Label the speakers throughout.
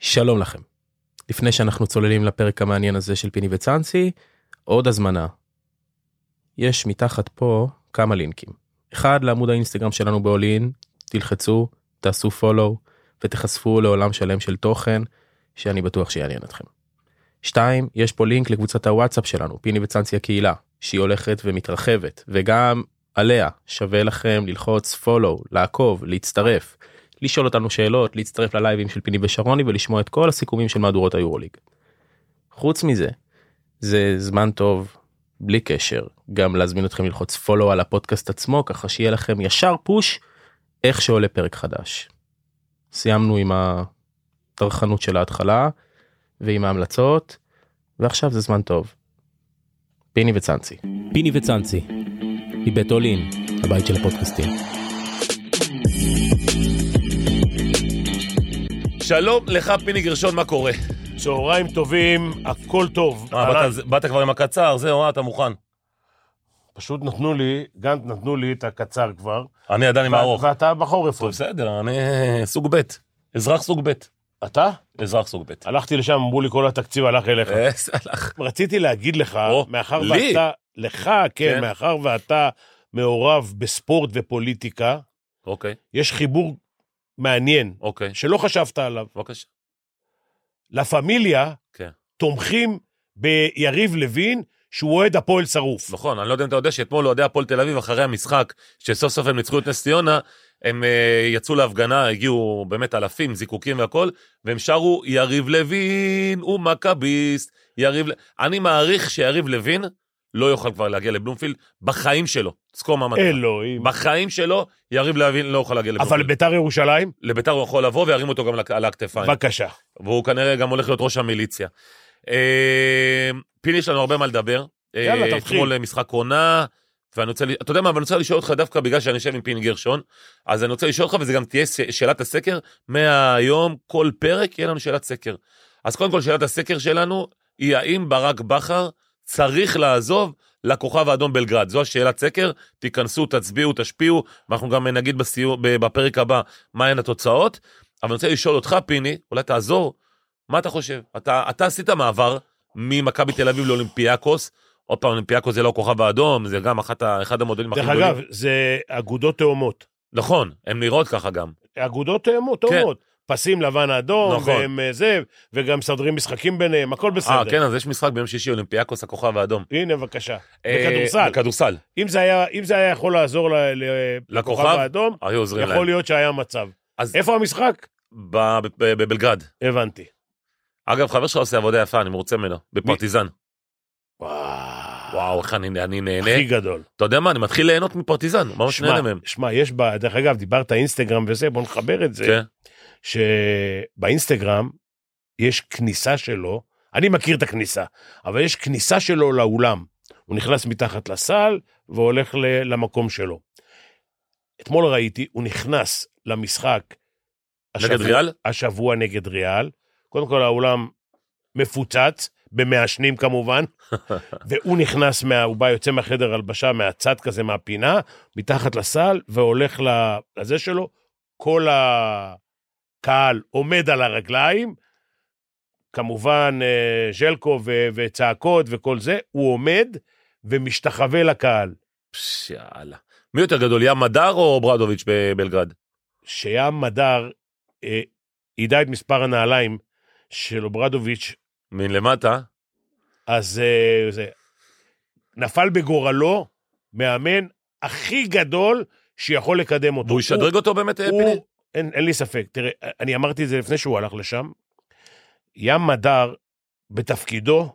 Speaker 1: שלום לכם. לפני שאנחנו צוללים לפרק המעניין הזה של פיני וצאנסי, עוד הזמנה. יש מתחת פה כמה לינקים. אחד לעמוד האינסטגרם שלנו באולין, תלחצו, תעשו follow ותיחשפו לעולם שלם של תוכן שאני בטוח שיעניין אתכם. שתיים, יש פה לינק לקבוצת הוואטסאפ שלנו, פיני וצאנסי הקהילה, שהיא הולכת ומתרחבת, וגם עליה שווה לכם ללחוץ follow, לעקוב, להצטרף, לשאול אותנו שאלות, להצטרף ללייבים של פיני ושרוני ולשמוע את כל הסיכומים של מהדורות היורוליג. חוץ מזה, זה זמן טוב, בלי קשר, גם להזמין אתכם ללחוץ follow על הפודקאסט עצמו, ככה שיהיה לכם ישר פוש איך שעולה פרק חדש. סיימנו עם הטרחנות של ההתחלה ועם ההמלצות, ועכשיו זה זמן טוב. פיני וצאנצי. פיני וצאנצי, מבית אולין, הבית של הפודקאסטים.
Speaker 2: שלום לך, פיני גרשון, מה קורה?
Speaker 3: צהריים טובים, הכל טוב.
Speaker 2: מה,
Speaker 3: אהלן.
Speaker 2: באת- באת כבר עם הקצר, זהו, אה, אתה מוכן.
Speaker 3: פשוט נתנו לי, גנט נתנו לי את הקצר כבר.
Speaker 2: אני עדיין עם
Speaker 3: ואת-
Speaker 2: הארוך.
Speaker 3: ואתה בחורף
Speaker 2: טוב,
Speaker 3: עוד.
Speaker 2: בסדר, אני אה, סוג ב', אזרח סוג ב',
Speaker 3: אתה?
Speaker 2: אזרח סוג ב'.
Speaker 3: הלכתי לשם, אמרו לי כל התקציב הלך אליך.
Speaker 2: אה, סלח.
Speaker 3: רציתי להגיד לך,
Speaker 2: או,
Speaker 3: מאחר
Speaker 2: לי?
Speaker 3: ואתה... לך,
Speaker 2: כן.
Speaker 3: כן, מאחר ואתה מעורב בספורט ופוליטיקה,
Speaker 2: אוקיי,
Speaker 3: יש חיבור מעניין,
Speaker 2: אוקיי,
Speaker 3: שלא חשבת עליו.
Speaker 2: בבקשה.
Speaker 3: לה פמיליה
Speaker 2: כן.
Speaker 3: תומכים ביריב לוין, שהוא אוהד הפועל שרוף.
Speaker 2: נכון, אני לא יודע אם אתה יודע שאתמול אוהדי הפועל תל אביב, אחרי המשחק, שסוף סוף הם ניצחו את נס ציונה, הם אה, יצאו להפגנה, הגיעו באמת אלפים, זיקוקים והכול, והם שרו, יריב לוין הוא מכביסט, יריב... ל-" אני מעריך שיריב לוין לא יוכל כבר להגיע לבלומפילד בחיים שלו. תזכור מה מצב.
Speaker 3: אלוהים.
Speaker 2: בחיים שלו, יריב לוין לא יוכל להגיע
Speaker 3: אבל
Speaker 2: לבלומפילד.
Speaker 3: ביתר ירושלים,
Speaker 2: לביתר הוא יכול לבוא וירים אותו גם לק- על הכתפיים.
Speaker 3: בבקשה.
Speaker 2: והוא כנראה גם הולך להיות ראש המיליציה. אה, פיני, יש לנו הרבה מה לדבר. אה,
Speaker 3: יאללה, תתחיל.
Speaker 2: אתמול משחק עונה, ואני רוצה, ל- אתה יודע מה, אבל אני רוצה לשאול אותך דווקא בגלל שאני יושב עם פיני גרשון, אז אני רוצה לשאול אותך, וזה גם תהיה ש- שאלת הסקר, מהיום כל פרק יהיה לנו שאלת סקר. אז קודם כל, שאלת הסקר שלנו היא האם ברק בכר צריך לעזוב לכוכב האדום בלגרד. זו השאלת סקר, תיכנסו, תצביעו, תשפיעו, ואנחנו גם נגיד בסיור, ב- בפרק הבא מהן התוצאות. אבל אני רוצה לשאול אותך, פיני, אולי תעזור, מה אתה חושב? אתה, אתה עשית מעבר ממכבי תל אביב לאולימפיאקוס, עוד פעם, אולימפיאקוס זה לא הכוכב האדום, זה גם אחת, ה- אחד המודלים הכי
Speaker 3: דרך
Speaker 2: גדולים.
Speaker 3: אגב, זה אגודות תאומות.
Speaker 2: נכון, הן נראות ככה גם.
Speaker 3: אגודות תאומות, תאומות. פסים לבן אדום,
Speaker 2: כן. נכון.
Speaker 3: והם אה, זה, וגם מסדרים משחקים ביניהם, הכל
Speaker 2: אה, כן,
Speaker 3: בסדר.
Speaker 2: אז יש משחק ביום שישי, אולימפיאקוס, הכוכב האדום.
Speaker 3: הנה, בבקשה.
Speaker 2: אה,
Speaker 3: בכדורסל.
Speaker 2: בכדורסל.
Speaker 3: אם זה היה- אם זה היה יכול לעזור ל- ל-
Speaker 2: לכוכב?
Speaker 3: לכוכב האדום,
Speaker 2: היו עוזרים להם.
Speaker 3: יכול להיות שהיה מצב.
Speaker 2: אז
Speaker 3: איפה המשחק?
Speaker 2: ב- ב- ב- בבלגרד.
Speaker 3: הבנתי.
Speaker 2: אגב, חבר שלך עושה עבודה יפה, אני מרוצה ממנו, בפרטיזן.
Speaker 3: וואו,
Speaker 2: וואו, איך אני אני נהנה.
Speaker 3: הכי גדול.
Speaker 2: אתה יודע מה, אני מתחיל ליהנות מפרטיזן, ממש
Speaker 3: שמע,
Speaker 2: נהנה מהם.
Speaker 3: שמע, יש ב... דרך אגב, דיברת אינסטגרם וזה, בוא נחבר את זה.
Speaker 2: כן,
Speaker 3: שבאינסטגרם יש כניסה שלו, אני מכיר את הכניסה, אבל יש כניסה שלו לאולם. הוא נכנס מתחת לסל והולך ל- למקום שלו. אתמול ראיתי, הוא נכנס למשחק
Speaker 2: נגד ריאל?
Speaker 3: השבוע נגד ריאל. קודם כל האולם מפוצץ, במעשנים כמובן, והוא נכנס, מה, הוא בא, יוצא מהחדר הלבשה, מהצד כזה, מהפינה, מתחת לסל, והולך ל- לזה שלו, כל הקהל עומד על הרגליים, כמובן אה, ז'לקו ו- וצעקות וכל זה, הוא עומד ומשתחווה לקהל.
Speaker 2: פש, יאללה. מי יותר גדול, ים מדר או ברדוביץ' בבלגרד?
Speaker 3: שים מדר אה, ידע את מספר הנעליים של אוברדוביץ',
Speaker 2: מלמטה.
Speaker 3: אז אה, זה... נפל בגורלו מאמן הכי גדול שיכול לקדם אותו.
Speaker 2: והוא ישדרג אותו באמת, אה,
Speaker 3: הוא-
Speaker 2: פיני?
Speaker 3: אין, אין לי ספק. תראה, אני אמרתי את זה לפני שהוא הלך לשם. ים מדר, בתפקידו,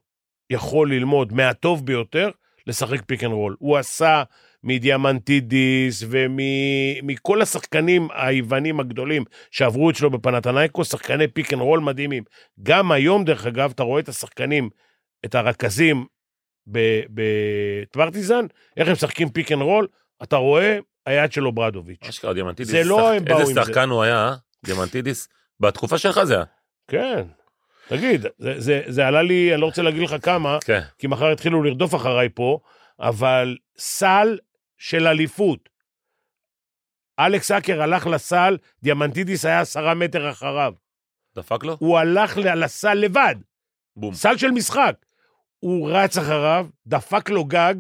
Speaker 3: יכול ללמוד מהטוב ביותר לשחק פיק אנד רול. הוא עשה מדיאמנטידיס ומכל השחקנים היוונים הגדולים שעברו אצלו בפנתנייקוס, שחקני פיק אנד רול מדהימים. גם היום, דרך אגב, אתה רואה את השחקנים, את הרכזים ב- בטברטיזן, איך הם משחקים פיק אנד רול, אתה רואה היד שלו ברדוביץ'.
Speaker 2: אשכרה, דיאמנטידיס.
Speaker 3: זה לא
Speaker 2: שחק-
Speaker 3: הם באו עם
Speaker 2: איזה
Speaker 3: זה.
Speaker 2: שחקן הוא היה, אה? דיאמנטידיס. בתקופה שלך זה היה.
Speaker 3: כן. תגיד, זה, זה, זה עלה לי, אני לא רוצה להגיד לך כמה,
Speaker 2: כן.
Speaker 3: כי מחר יתחילו לרדוף אחריי פה, אבל סל של אליפות. אלכס אקר הלך לסל, דיאמנטידיס היה עשרה מטר אחריו.
Speaker 2: דפק לו?
Speaker 3: הוא הלך ל- לסל לבד,
Speaker 2: בום.
Speaker 3: סל של משחק. הוא רץ אחריו, דפק לו גג,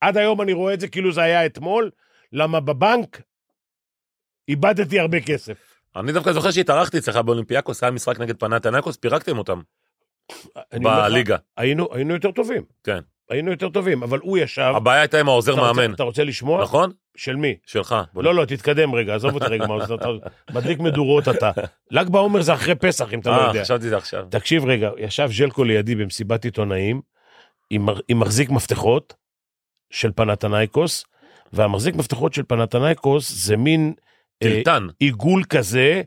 Speaker 3: עד היום אני רואה את זה כאילו זה היה אתמול, למה בבנק איבדתי הרבה כסף.
Speaker 2: אני דווקא זוכר שהתארחתי אצלך באולימפיאקוס, היה משחק נגד פנתנקוס, פירקתם אותם
Speaker 3: אני אומר לך,
Speaker 2: בליגה.
Speaker 3: היינו, היינו יותר טובים.
Speaker 2: כן.
Speaker 3: היינו יותר טובים, אבל הוא ישב...
Speaker 2: הבעיה הייתה עם העוזר
Speaker 3: אתה רוצה-
Speaker 2: מאמן,
Speaker 3: אתה רוצה לשמוע?
Speaker 2: נכון?
Speaker 3: של מי?
Speaker 2: שלך. בוא
Speaker 3: לא, לא, תתקדם רגע, עזוב אותי רגע, מה עושה, אתה מדליק מדורות אתה. ל"ג בעומר זה אחרי פסח, אם אתה לא
Speaker 2: אה,
Speaker 3: יודע.
Speaker 2: חשבתי זה עכשיו.
Speaker 3: תקשיב רגע, ישב ז'לקו לידי במסיבת עיתונאים, עם, מר- עם מחזיק מפתחות של פנתנייקוס, והמחזיק מפתחות של פנתנייקוס זה מין אה,
Speaker 2: טילטן.
Speaker 3: עיגול כזה,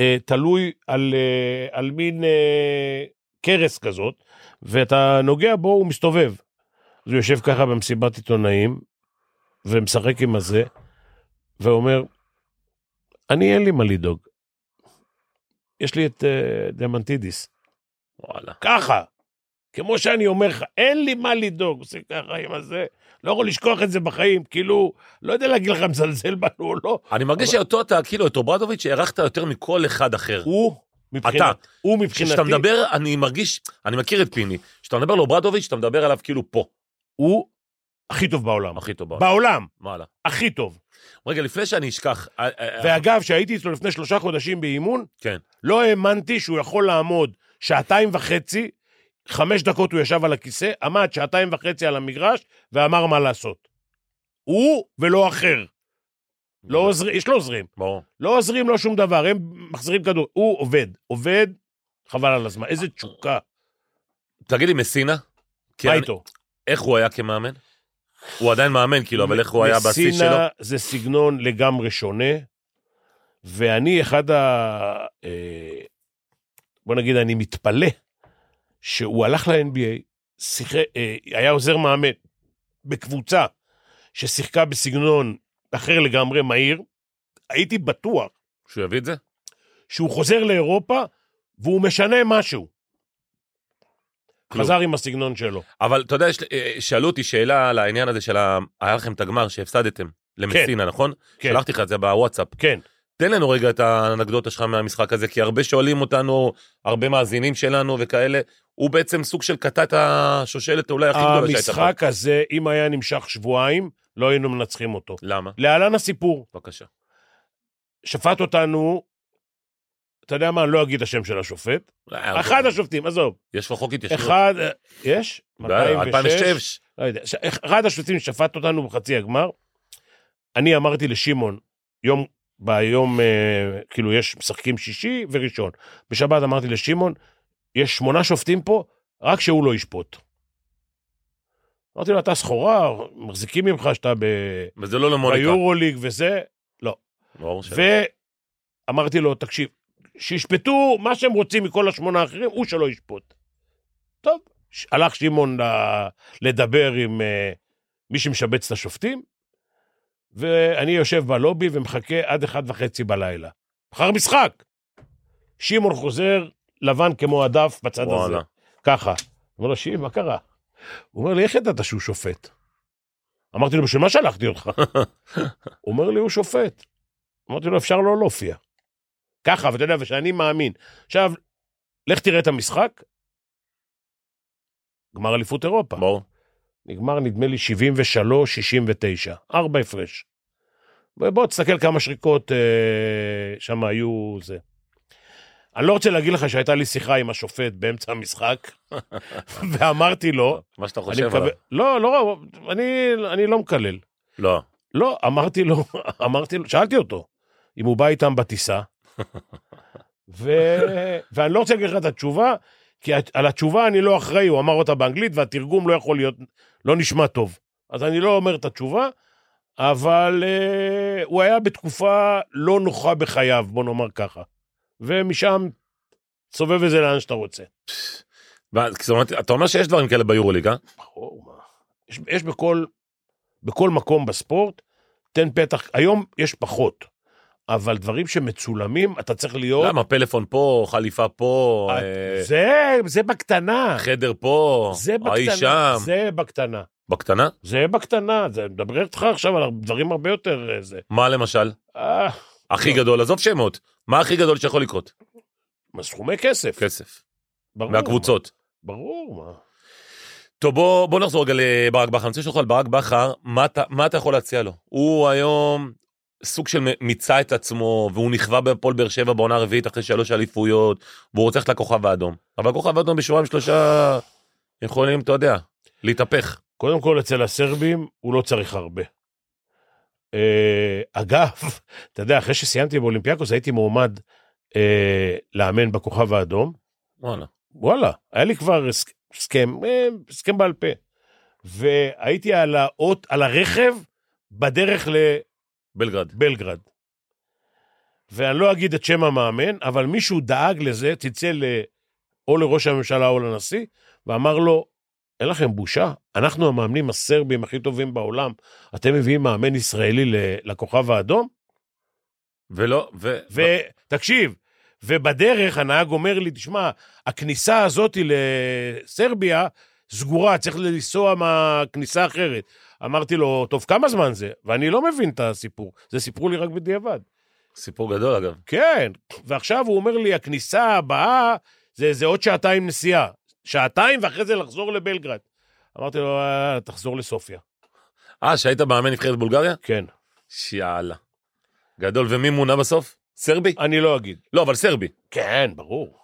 Speaker 3: אה, תלוי על, אה, על מין אה, קרס כזאת, ואתה נוגע בו, הוא מסתובב. אז הוא יושב ככה במסיבת עיתונאים, ומשחק עם הזה, ואומר, אני אין לי מה לדאוג. יש לי את אה, דמנטידיס.
Speaker 2: וואלה.
Speaker 3: ככה. כמו שאני אומר לך, אין לי מה לדאוג, עושה ככה עם הזה, לא יכול לשכוח את זה בחיים, כאילו, לא יודע להגיד לך מזלזל בנו או לא.
Speaker 2: אני מרגיש שאותו אתה, כאילו, את אוברדוביץ' הארכת יותר מכל אחד אחר.
Speaker 3: הוא, מבחינת,
Speaker 2: אתה.
Speaker 3: הוא מבחינתי,
Speaker 2: כשאתה מדבר, אני מרגיש, אני מכיר את פיני, כשאתה מדבר על אוברדוביץ', אתה מדבר עליו כאילו פה,
Speaker 3: הוא הכי טוב בעולם.
Speaker 2: הכי טוב בעולם.
Speaker 3: בעולם,
Speaker 2: וואלה.
Speaker 3: הכי טוב.
Speaker 2: רגע, לפני שאני אשכח, אה, אה, אה,
Speaker 3: ואגב, כשהייתי אצלו לפני שלושה חודשים באימון,
Speaker 2: כן.
Speaker 3: לא האמנתי שהוא יכול לעמוד שעתיים וחצי, חמש דקות הוא ישב על הכיסא, עמד שעתיים וחצי על המגרש, ואמר מה לעשות. הוא ולא אחר. לא
Speaker 2: נכון.
Speaker 3: עוזרים, יש לו עוזרים.
Speaker 2: ברור.
Speaker 3: לא עוזרים לו שום דבר, הם מחזירים כדור. הוא עובד, עובד, חבל על הזמן.
Speaker 2: אה,
Speaker 3: איזה תשוקה.
Speaker 2: תגיד לי, מסינה? כן,
Speaker 3: מה איתו?
Speaker 2: איך הוא היה כמאמן? הוא עדיין מאמן, כאילו, אבל איך הוא היה בשיא
Speaker 3: מסינה
Speaker 2: שלו?
Speaker 3: זה סגנון לגמרי שונה, ואני אחד ה... אה, בוא נגיד, אני מתפלא שהוא הלך ל-NBA, שיחק, אה, היה עוזר מאמן בקבוצה ששיחקה בסגנון אחר לגמרי, מהיר, הייתי בטוח
Speaker 2: שהוא יביא את זה?
Speaker 3: שהוא חוזר לאירופה והוא משנה משהו.
Speaker 2: כלום.
Speaker 3: חזר עם הסגנון שלו.
Speaker 2: כאילו, אבל אתה יודע, יש- אה, שאלו אותי שאלה על העניין הזה של ה... היה לכם את הגמר שהפסדתם למסינה, נכון?
Speaker 3: כן.
Speaker 2: שלחתי לך את זה בוואטסאפ.
Speaker 3: כן.
Speaker 2: תן לנו רגע את האנקדוטה שלך מהמשחק הזה, כי הרבה שואלים אותנו, הרבה מאזינים שלנו וכאלה. הוא בעצם סוג של קטע את השושלת אולי הכי גדולה שהייתה. פה.
Speaker 3: המשחק הזה, אם היה נמשך שבועיים, לא היינו מנצחים אותו.
Speaker 2: למה?
Speaker 3: להלן הסיפור,
Speaker 2: בבקשה.
Speaker 3: שפט אותנו, אתה יודע מה, אני לא אגיד השם של השופט,
Speaker 2: אה,
Speaker 3: אחד
Speaker 2: אוקיי.
Speaker 3: השופטים, עזוב,
Speaker 2: יש אה, לו חוק התיישנות.
Speaker 3: אחד, אה, יש? 206,
Speaker 2: 2006.
Speaker 3: לא יודע, ש- אחד השופטים שפט אותנו בחצי הגמר, אני אמרתי לשמעון, יום, ביום, אה, כאילו יש משחקים שישי וראשון, בשבת אמרתי לשמעון, יש שמונה שופטים פה, רק שהוא לא ישפוט. אמרתי לו, אתה סחורה, מחזיקים ממך שאתה ב-
Speaker 2: וזה לא למוניקה.
Speaker 3: ביורוליג וזה,
Speaker 2: ברור שלא.
Speaker 3: ואמרתי לו, תקשיב, שישפטו מה שהם רוצים מכל השמונה האחרים, הוא שלא ישפוט. טוב, ש- הלך שמעון ל- לדבר עם אה, מי שמשבץ את השופטים, ואני יושב בלובי ומחכה עד אחד וחצי בלילה. אחר משחק. שמעון חוזר לבן כמו הדף בצד הזה.
Speaker 2: וואלה.
Speaker 3: ככה. אומר לו, שיעי, מה קרה? הוא אומר לי, איך ידעת שהוא שופט? אמרתי לו, בשביל מה שלחתי אותך? הוא אומר לי, הוא שופט. אמרתי לו, אפשר לא להופיע. ככה, ואתה יודע, ושאני מאמין. עכשיו, לך תראה את המשחק. גמר אליפות אירופה.
Speaker 2: ברור.
Speaker 3: נגמר, נדמה לי, 73-69. ארבע הפרש. ובוא תסתכל כמה שריקות אה, שם היו זה. אני לא רוצה להגיד לך שהייתה לי שיחה עם השופט באמצע המשחק, ואמרתי לו,
Speaker 2: מה שאתה
Speaker 3: אני
Speaker 2: חושב
Speaker 3: מקווה...
Speaker 2: עליו.
Speaker 3: לא, לא, אני, אני לא מקלל.
Speaker 2: לא.
Speaker 3: לא, אמרתי לו, אמרתי לו, שאלתי אותו, אם הוא בא איתם בטיסה, ו... ואני לא רוצה להגיד לך את התשובה, כי הת- על התשובה אני לא אחראי, הוא אמר אותה באנגלית, והתרגום לא יכול להיות, לא נשמע טוב. אז אני לא אומר את התשובה, אבל אה, הוא היה בתקופה לא נוחה בחייו, בוא נאמר ככה. ומשם, סובב את זה לאן שאתה רוצה.
Speaker 2: ואז, זאת אומרת, אתה אומר שיש דברים כאלה ביורוליג, אה?
Speaker 3: ברור, מה. יש, יש בכל, בכל מקום בספורט, תן פתח, היום יש פחות, אבל דברים שמצולמים, אתה צריך להיות...
Speaker 2: למה? פלאפון פה, חליפה פה,
Speaker 3: את-
Speaker 2: אה,
Speaker 3: לא. זה, זה בקטנה.
Speaker 2: חדר פה,
Speaker 3: זה
Speaker 2: ההיא
Speaker 3: בקטנה.
Speaker 2: שם.
Speaker 3: זה בקטנה.
Speaker 2: בקטנה?
Speaker 3: זה בקטנה, זה מדבר איתך עכשיו על דברים הרבה יותר אה, זה.
Speaker 2: מה למשל?
Speaker 3: אה,
Speaker 2: הכי גדול, עזוב שמות. מה הכי גדול שיכול לקרות?
Speaker 3: מה, סכומי כסף.
Speaker 2: כסף.
Speaker 3: ברור.
Speaker 2: מהקבוצות.
Speaker 3: מה, ברור, מה.
Speaker 2: טוב, בוא, בוא נחזור רגע לברק בכר. אני רוצה לשאול אותך על ברק בכר, מה, אתה- מה אתה יכול להציע לו? הוא היום סוג של מ- מיצה את עצמו, והוא נכווה בהפועל באר שבע בעונה הרביעית אחרי שלוש אליפויות, והוא רוצה ללכת לכוכב האדום. אבל הכוכב האדום בשבועיים שלושה יכולים, אתה יודע, להתהפך.
Speaker 3: קודם כל, אצל הסרבים הוא לא צריך הרבה. אה, אגב, אתה יודע, אחרי שסיימתי באולימפיאקוס הייתי מועמד אה, לאמן בכוכב האדום.
Speaker 2: וואלה.
Speaker 3: וואלה, היה לי כבר הסכ- הסכם, אה, הסכם בעל פה. והייתי על האות, על הרכב בדרך לבלגרד.
Speaker 2: בלגרד.
Speaker 3: ואני לא אגיד את שם המאמן, אבל מישהו דאג לזה, צלצל ל- או לראש הממשלה או לנשיא, ואמר לו, אין לכם בושה? אנחנו המאמנים הסרבים הכי טובים בעולם, אתם מביאים מאמן ישראלי ל- לכוכב האדום?
Speaker 2: ולא, ו... ו...
Speaker 3: ותקשיב, ובדרך הנהג אומר לי, תשמע, הכניסה הזאת לסרביה סגורה, צריך לנסוע מהכניסה האחרת. אמרתי לו, טוב, כמה זמן זה? ואני לא מבין את הסיפור, זה סיפרו לי רק בדיעבד.
Speaker 2: לא, סיפור גדול אגב.
Speaker 3: כן, ועכשיו הוא אומר לי, הכניסה הבאה זה, זה עוד שעתיים נסיעה. שעתיים ואחרי זה לחזור לבלגרד. אמרתי לו, "אה, תחזור לסופיה.
Speaker 2: אה, שהיית מאמן נבחרת בולגריה?
Speaker 3: כן,
Speaker 2: שיאללה. גדול, ומי מונה בסוף? סרבי?
Speaker 3: אני לא אגיד.
Speaker 2: לא, אבל סרבי.
Speaker 3: כן, ברור.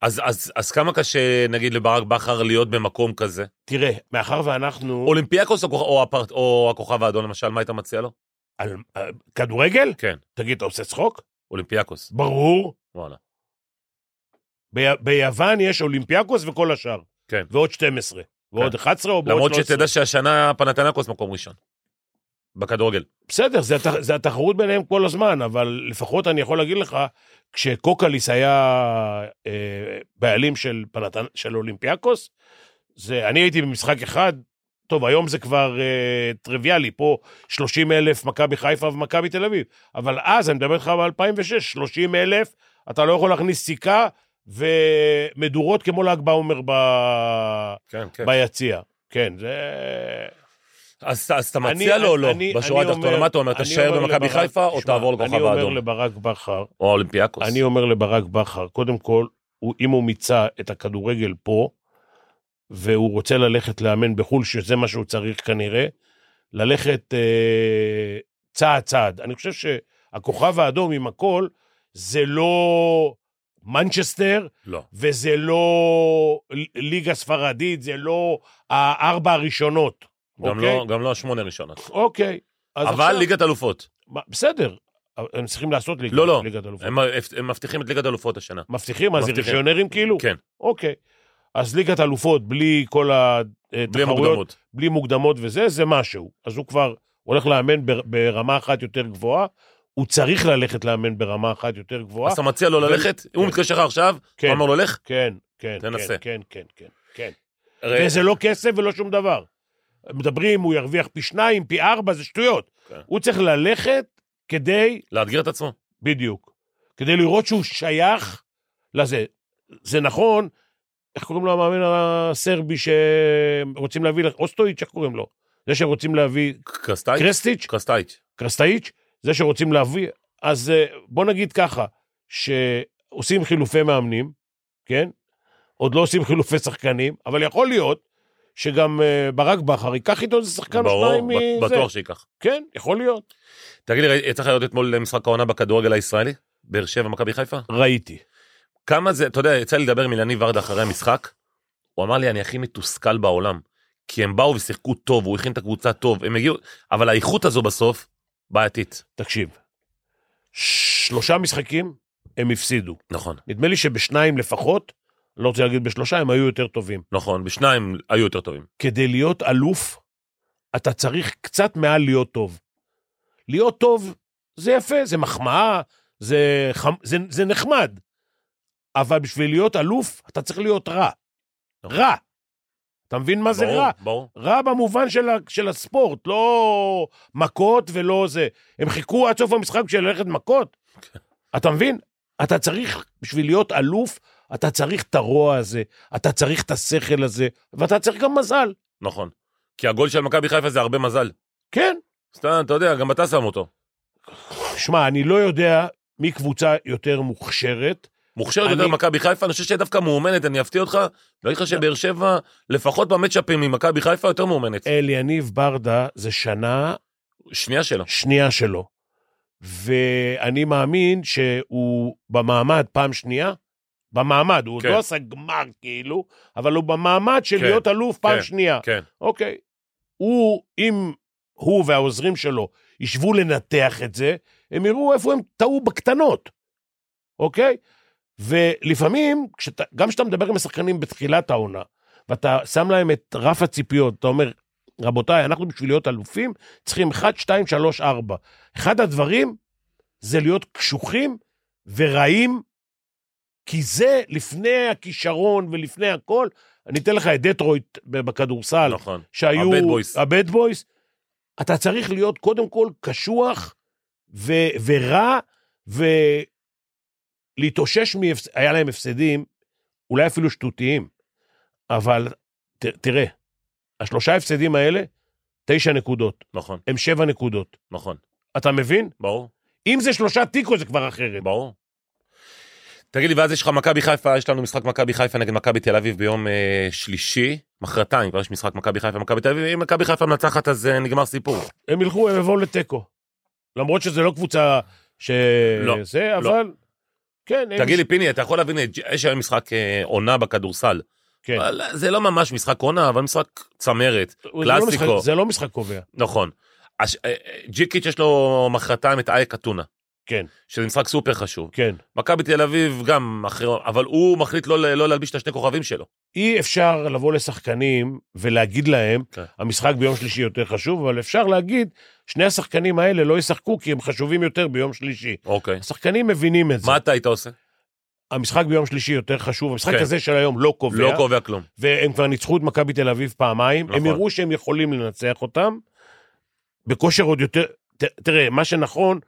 Speaker 2: אז, אז, אז כמה קשה, נגיד, לברק בכר להיות במקום כזה?
Speaker 3: תראה, מאחר ואנחנו...
Speaker 2: אולימפיאקוס או, כוכב- או, הפרט, או הכוכב האדום, למשל, מה היית מציע לו?
Speaker 3: על, על, כדורגל?
Speaker 2: כן.
Speaker 3: תגיד, אתה עושה צחוק?
Speaker 2: אולימפיאקוס,
Speaker 3: ברור.
Speaker 2: וואלה.
Speaker 3: ב, ביוון יש אולימפיאקוס וכל השאר.
Speaker 2: כן.
Speaker 3: ועוד 12. ועוד
Speaker 2: כן.
Speaker 3: 11 או בעוד 13.
Speaker 2: למרות שתדע שהשנה פנתנקוס מקום ראשון. בכדורגל.
Speaker 3: בסדר, זה, הת- זה התחרות ביניהם כל הזמן, אבל לפחות אני יכול להגיד לך, כשקוקליס היה אה, בעלים של, פנתן, של אולימפיאקוס, זה, אני הייתי במשחק אחד, טוב, היום זה כבר אה, טריוויאלי, פה 30 אלף מכבי חיפה ומכבי תל אביב, אבל אז, אני מדבר איתך ב-2006, 30 אלף, אתה לא יכול להכניס סיכה ומדורות כמו ל"ג בעומר ב...
Speaker 2: כן, כן.
Speaker 3: ביציע. כן, זה...
Speaker 2: אז, אז אתה
Speaker 3: אני-
Speaker 2: מציע לו או לא?
Speaker 3: אני-
Speaker 2: בשורה
Speaker 3: אני
Speaker 2: התחתונה, מה אתה אומר?
Speaker 3: אני
Speaker 2: תישאר
Speaker 3: אומר
Speaker 2: במכבי
Speaker 3: לברק-
Speaker 2: חיפה או
Speaker 3: תשמע,
Speaker 2: תעבור לכוכב
Speaker 3: אני אומר
Speaker 2: האדום? אוקיי.
Speaker 3: לברק בכר,
Speaker 2: או אולימפיאקוס?
Speaker 3: אני אומר לברק בכר, קודם כל, הוא, אם הוא מיצה את הכדורגל פה, והוא רוצה ללכת לאמן בחו"ל, שזה מה שהוא צריך כנראה, ללכת אה, צעד צעד. אני חושב שהכוכב האדום עם הכל, זה לא מנצ'סטר,
Speaker 2: לא.
Speaker 3: וזה לא ל- ליגה ספרדית, זה לא הארבע הראשונות.
Speaker 2: גם
Speaker 3: אוקיי?
Speaker 2: לא- גם לא השמונה הראשונות.
Speaker 3: אוקיי. אז
Speaker 2: אבל ליגת אלופות.
Speaker 3: מה, בסדר, אבל הם צריכים לעשות ליגה,
Speaker 2: לא, לא.
Speaker 3: ליגת אלופות.
Speaker 2: הם הם מבטיחים את ליגת אלופות השנה.
Speaker 3: מבטיחים? מה זה
Speaker 2: מבטיחים.
Speaker 3: רישיונרים כאילו?
Speaker 2: כן,
Speaker 3: אוקיי. אז ליגת אלופות בלי כל התחרויות,
Speaker 2: בלי המוקדמות.
Speaker 3: בלי מוקדמות וזה, זה משהו. אז הוא כבר הולך לאמן בר- ברמה אחת יותר גבוהה, הוא צריך ללכת לאמן ברמה אחת יותר גבוהה.
Speaker 2: אז אתה מציע לו
Speaker 3: ו-
Speaker 2: ללכת? הוא מתקשר לך עכשיו,
Speaker 3: כן.
Speaker 2: הוא אמר לו, לך?
Speaker 3: כן, כן,
Speaker 2: תנסה.
Speaker 3: כן, כן, כן, כן, כן. וזה לא כסף ולא שום דבר. מדברים, הוא ירוויח פי שניים, פי ארבע, זה שטויות.
Speaker 2: כן.
Speaker 3: הוא צריך ללכת כדי
Speaker 2: לאתגר את עצמו.
Speaker 3: בדיוק. כדי לראות שהוא שייך לזה. זה נכון, איך קוראים לו המאמן הסרבי שרוצים להביא, לך- אוסטואיץ', איך קוראים לו? זה שרוצים להביא,
Speaker 2: קרסטייץ'?
Speaker 3: קרסטיץ',
Speaker 2: קרסטייץ'.
Speaker 3: קרסטאיץ', זה שרוצים להביא. אז אה, בוא נגיד ככה, שעושים חילופי מאמנים, כן? עוד לא עושים חילופי שחקנים, אבל יכול להיות שגם אה, ברק בכר ייקח איתו איזה שחקן או
Speaker 2: ברור,
Speaker 3: שניים
Speaker 2: בט-
Speaker 3: מזה.
Speaker 2: בטוח שייקח.
Speaker 3: כן, יכול להיות.
Speaker 2: תגיד לי, ראי- יצא לך לראות אתמול משחק העונה בכדורגל הישראלי? באר שבע, מכבי חיפה?
Speaker 3: ראיתי. ליגה
Speaker 2: כמה זה, אתה יודע, יצא לי לדבר עם אילני ורדה אחרי המשחק, הוא אמר לי, אני הכי מתוסכל בעולם, כי הם באו ושיחקו טוב, הוא הכין את הקבוצה טוב, הם הגיעו, אבל האיכות הזו בסוף, בעייתית.
Speaker 3: תקשיב, שלושה משחקים הם הפסידו.
Speaker 2: נכון,
Speaker 3: נדמה לי שבשניים לפחות, לא רוצה להגיד בשלושה, הם היו יותר טובים.
Speaker 2: נכון, בשניים היו יותר טובים.
Speaker 3: כדי להיות אלוף, אתה צריך קצת מעל להיות טוב. להיות טוב זה יפה, זה מחמאה, זה, חמ... זה, זה נחמד. אבל בשביל להיות אלוף, אתה צריך להיות רע.
Speaker 2: נכון.
Speaker 3: רע. אתה מבין מה זה
Speaker 2: ברור,
Speaker 3: רע?
Speaker 2: ברור.
Speaker 3: רע במובן של, ה... של הספורט, לא מכות ולא זה. הם חיכו עד סוף המשחק בשביל ללכת מכות. אתה מבין? אתה צריך, בשביל להיות אלוף, אתה צריך את הרוע הזה, אתה צריך את השכל הזה, ואתה צריך גם מזל.
Speaker 2: נכון. כי הגול של מכבי חיפה זה הרבה מזל.
Speaker 3: כן.
Speaker 2: סתם, אתה יודע, גם אתה שם אותו.
Speaker 3: שמע, אני לא יודע מי קבוצה יותר מוכשרת,
Speaker 2: מוכשרת יותר
Speaker 3: אני-
Speaker 2: ממכבי חיפה, אני חושב שהיא דווקא מאומנת, אני אפתיע אותך, לא אגיד לך שבאר שבע, לפחות במצ'אפים ממכבי חיפה יותר מאומנת.
Speaker 3: אל יניב ברדה זה שנה
Speaker 2: שנייה שלה.
Speaker 3: שנייה שלו. ואני מאמין שהוא במעמד פעם שנייה, במעמד, הוא
Speaker 2: כן.
Speaker 3: עוד לא עשה גמר כאילו, אבל הוא במעמד של
Speaker 2: כן,
Speaker 3: להיות אלוף פעם
Speaker 2: כן,
Speaker 3: שנייה.
Speaker 2: כן.
Speaker 3: אוקיי. הוא, אם הוא והעוזרים שלו ישבו לנתח את זה, הם יראו איפה הם טעו בקטנות, אוקיי? ולפעמים, כשאתה, גם כשאתה מדבר עם השחקנים בתחילת העונה, ואתה שם להם את רף הציפיות, אתה אומר, רבותיי, אנחנו בשביל להיות אלופים צריכים 1, 2, 3, 4. אחד הדברים זה להיות קשוחים ורעים, כי זה לפני הכישרון ולפני הכל. אני אתן לך את דטרויט בכדורסל,
Speaker 2: נכון.
Speaker 3: שהיו...
Speaker 2: ה-bad boys.
Speaker 3: הבד בויס. אתה צריך להיות קודם כל קשוח ו, ורע ולהתאושש, מהפס... היה להם הפסדים, אולי אפילו שטותיים, אבל ת, תראה, השלושה הפסדים האלה, תשע נקודות,
Speaker 2: נכון,
Speaker 3: הם שבע נקודות.
Speaker 2: נכון.
Speaker 3: אתה מבין?
Speaker 2: ברור,
Speaker 3: אם זה שלושה תיקו זה כבר אחרת.
Speaker 2: ברור. תגיד לי, ואז יש לך מכבי חיפה, יש לנו משחק מכבי חיפה נגד מכבי תל אביב ביום אה, שלישי, מחרתיים, כבר יש משחק מכבי חיפה, מכבי תל אביב, אם מכבי חיפה מנצחת אז אה, נגמר סיפור.
Speaker 3: הם ילכו, הם יבואו לתיקו. למרות שזה לא קבוצה ש...
Speaker 2: לא,
Speaker 3: זה,
Speaker 2: לא.
Speaker 3: אבל... כן, הם...
Speaker 2: תגיד לי, פיני, אתה יכול להבין, אה, יש היום משחק אה, עונה בכדורסל.
Speaker 3: כן.
Speaker 2: אבל זה לא ממש משחק עונה, אבל משחק צמרת,
Speaker 3: זה לא משחק-
Speaker 2: קלאסיקו.
Speaker 3: זה לא משחק קובע.
Speaker 2: נכון. הש- אה, אה, ג'יקיץ' יש לו מחרתיים את אייק אתונה,
Speaker 3: כן,
Speaker 2: שזה משחק סופר חשוב.
Speaker 3: כן.
Speaker 2: מכבי תל אביב גם אחרי, אבל הוא מחליט לא ל- לא להלביש את השני כוכבים שלו.
Speaker 3: אי אפשר לבוא לשחקנים ולהגיד להם,
Speaker 2: כן.
Speaker 3: המשחק ביום שלישי יותר חשוב, אבל אפשר להגיד, שני השחקנים האלה לא ישחקו כי הם חשובים יותר ביום שלישי.
Speaker 2: אוקיי.
Speaker 3: השחקנים מבינים את זה.
Speaker 2: מה אתה היית עושה?
Speaker 3: המשחק ביום שלישי יותר חשוב, המשחק
Speaker 2: כן.
Speaker 3: הזה של היום לא קובע,
Speaker 2: לא קובע כלום.
Speaker 3: והם כבר ניצחו את מכבי תל אביב פעמיים,
Speaker 2: נכון.
Speaker 3: הם יראו שהם יכולים לנצח אותם, בכושר עוד יותר, ת, תראה, מה שנכון,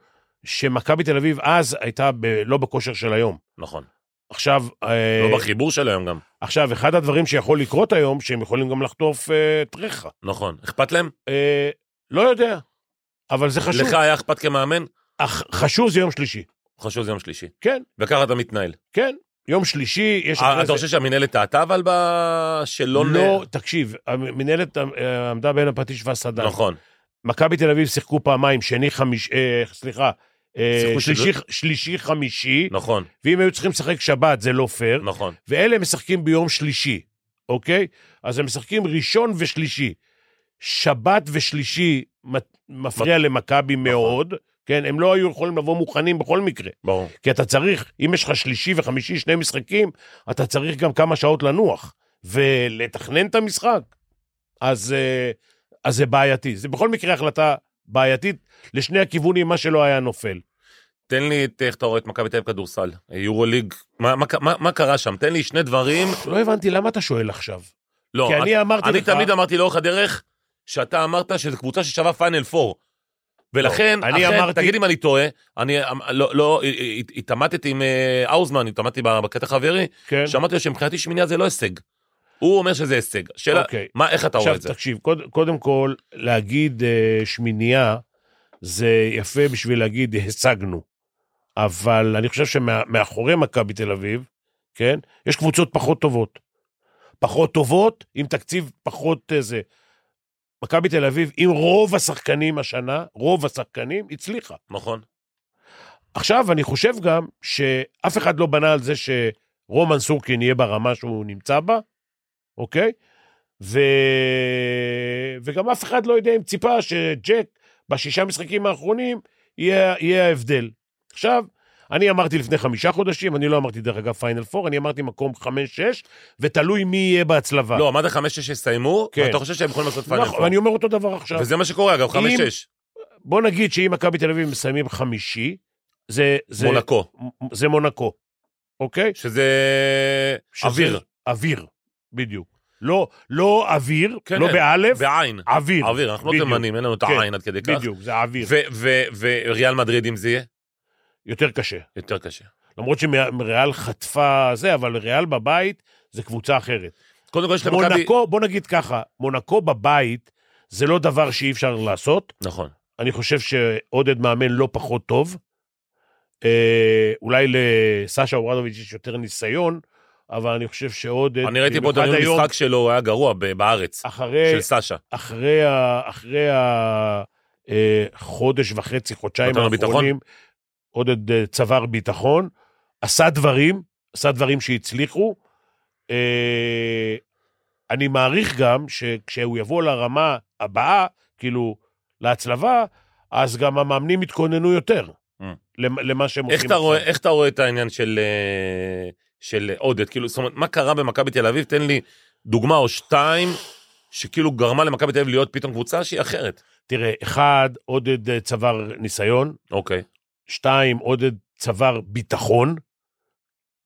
Speaker 3: שמכבי תל אביב אז הייתה ב, לא בכושר של היום.
Speaker 2: נכון.
Speaker 3: עכשיו, אה,
Speaker 2: לא בחיבור של היום גם.
Speaker 3: עכשיו, אחד הדברים שיכול לקרות היום, שהם יכולים גם לחטוף אה, טרחה.
Speaker 2: נכון. אכפת להם?
Speaker 3: אה, לא יודע, אבל זה חשוב.
Speaker 2: לך היה אכפת כמאמן?
Speaker 3: אך, חשוב זה יום שלישי.
Speaker 2: חשוב זה יום שלישי.
Speaker 3: כן,
Speaker 2: וככה אתה מתנהל.
Speaker 3: כן. יום שלישי, יש...
Speaker 2: אה,
Speaker 3: אחרי
Speaker 2: אתה
Speaker 3: זה-
Speaker 2: חושב שהמינהלת טעתה אבל ב- שלא... ל-
Speaker 3: לא, תקשיב, המנהלת אה, עמדה בין הפטיש והסדן.
Speaker 2: נכון.
Speaker 3: מכבי תל אביב שיחקו פעמיים, שני חמיש... אה, סליחה, אה,
Speaker 2: שיחקו
Speaker 3: שלישי, שלישי חמישי,
Speaker 2: נכון.
Speaker 3: ואם היו צריכים לשחק שבת זה לא פייר,
Speaker 2: נכון.
Speaker 3: ואלה משחקים ביום שלישי, אוקיי? אז הם משחקים ראשון ושלישי. שבת ושלישי מת- מפריע
Speaker 2: נכון.
Speaker 3: למכבי מאוד, כן? הם לא היו יכולים לבוא מוכנים בכל מקרה.
Speaker 2: ברור.
Speaker 3: כי אתה צריך, אם יש לך שלישי וחמישי, שני משחקים, אתה צריך גם כמה שעות לנוח ולתכנן את המשחק. אז, אה, אז זה בעייתי. זה בכל מקרה החלטה בעייתית לשני הכיוונים, מה שלא היה נופל.
Speaker 2: תן לי את איך אתה רואה את מכבי תל אביב כדורסל. יורו ליג. מה- מה- מה- מה קרה שם? תן לי שני דברים.
Speaker 3: לא הבנתי למה אתה שואל עכשיו.
Speaker 2: לא,
Speaker 3: כי
Speaker 2: את-
Speaker 3: אני אמרתי
Speaker 2: אני
Speaker 3: לך...
Speaker 2: תמיד אמ- אמרתי לאורך הדרך, שאתה אמרת שזו קבוצה ששווה פיינל פור. ולכן,
Speaker 3: לא, אני
Speaker 2: אכן,
Speaker 3: אמרתי-
Speaker 2: תגיד אם אני טועה, אני אמ- לא, לא, אה, אה, התעמתתי עם אה, האוזמן, התעמתתי בקטע חברי,
Speaker 3: כן.
Speaker 2: שאמרתי לו שמבחינתי שמינייה זה לא הישג. הוא אומר שזה הישג. שאלה,
Speaker 3: אוקיי.
Speaker 2: מה, איך אתה רואה
Speaker 3: עכשיו,
Speaker 2: את זה?
Speaker 3: תקשיב, קוד, קודם כל, להגיד אה, שמינייה, זה יפה בשביל להגיד, השגנו. אבל אני חושב שמאחורי מכבי תל אביב, כן, יש קבוצות פחות טובות. פחות טובות, עם תקציב פחות אה, זה. מכבי תל אביב, עם רוב השחקנים השנה, רוב השחקנים, הצליחה.
Speaker 2: נכון,
Speaker 3: עכשיו, אני חושב גם שאף אחד לא בנה על זה שרומן סורקין יהיה ברמה שהוא נמצא בה, אוקיי? ו... וגם אף אחד לא יודע אם ציפה שג'ק בשישה משחקים האחרונים יהיה, יהיה ההבדל. עכשיו, אני אמרתי לפני חמישה חודשים, אני לא אמרתי דרך אגב פיינל פור, אני אמרתי מקום חמש-שש, ותלוי מי יהיה בהצלבה.
Speaker 2: לא, אמרת חמש שש יסיימו,
Speaker 3: אה. כן.
Speaker 2: ואתה חושב שהם יכולים לעשות פיינל
Speaker 3: נכון,
Speaker 2: פור.
Speaker 3: ואני אומר אותו דבר עכשיו.
Speaker 2: וזה מה שקורה, אגב, חמש
Speaker 3: אם-
Speaker 2: שש,
Speaker 3: בוא נגיד שאם מכבי תל אביב מסיימים חמישי, זה, זה,
Speaker 2: מונקו,
Speaker 3: זה מונקו, אוקיי?
Speaker 2: שזה
Speaker 3: שזה-
Speaker 2: אוויר,
Speaker 3: אוויר, בדיוק. לא, לא אוויר,
Speaker 2: כן,
Speaker 3: לא באלף,
Speaker 2: בעין,
Speaker 3: אוויר.
Speaker 2: אוויר, אנחנו לא
Speaker 3: בדיוק.
Speaker 2: תימנים, אין לנו את
Speaker 3: כן,
Speaker 2: העין עד כדי כך.
Speaker 3: בדיוק, זה אוויר.
Speaker 2: ו- ו- וריאל מדריד אם זה יהיה?
Speaker 3: יותר קשה.
Speaker 2: יותר קשה.
Speaker 3: למרות שריאל חטפה זה, אבל ריאל בבית זה קבוצה אחרת.
Speaker 2: קודם כל יש למכבי...
Speaker 3: מונקו, בוא נגיד ככה, מונקו בבית זה לא דבר שאי אפשר לעשות.
Speaker 2: נכון.
Speaker 3: אני חושב שעודד מאמן לא פחות טוב. אה, אולי לסשה אוברדוביץ' יש יותר ניסיון, אבל אני חושב שעוד...
Speaker 2: אני ראיתי פה את
Speaker 3: במיוחד
Speaker 2: הניהול
Speaker 3: כאילו, היום, אה,
Speaker 2: משחק שלו, הוא היה גרוע ב- בארץ,
Speaker 3: אחרי,
Speaker 2: של סאשה.
Speaker 3: אחרי, ה, אחרי החודש וחצי, חודשיים
Speaker 2: נתן לו ביטחון?
Speaker 3: האחרונים, עודד אה, צבר ביטחון, עשה דברים, עשה דברים שהצליחו. אה, אני מעריך גם שכשהוא יבוא לרמה הבאה, כאילו, להצלבה, אז גם המאמנים יתכוננו יותר
Speaker 2: Mm.
Speaker 3: למ- למה שהם
Speaker 2: איך
Speaker 3: עושים
Speaker 2: אתה רואה- איך אתה רואה את העניין של, אה, של עודד? כאילו, זאת אומרת, מה קרה במכבי תל אביב? תן לי דוגמה או שתיים, שכאילו גרמה למכבי תל אביב להיות פתאום קבוצה שהיא אחרת.
Speaker 3: תראה, אחד, עודד אה, צבר ניסיון,
Speaker 2: אוקיי.
Speaker 3: שתיים, עודד צבר ביטחון.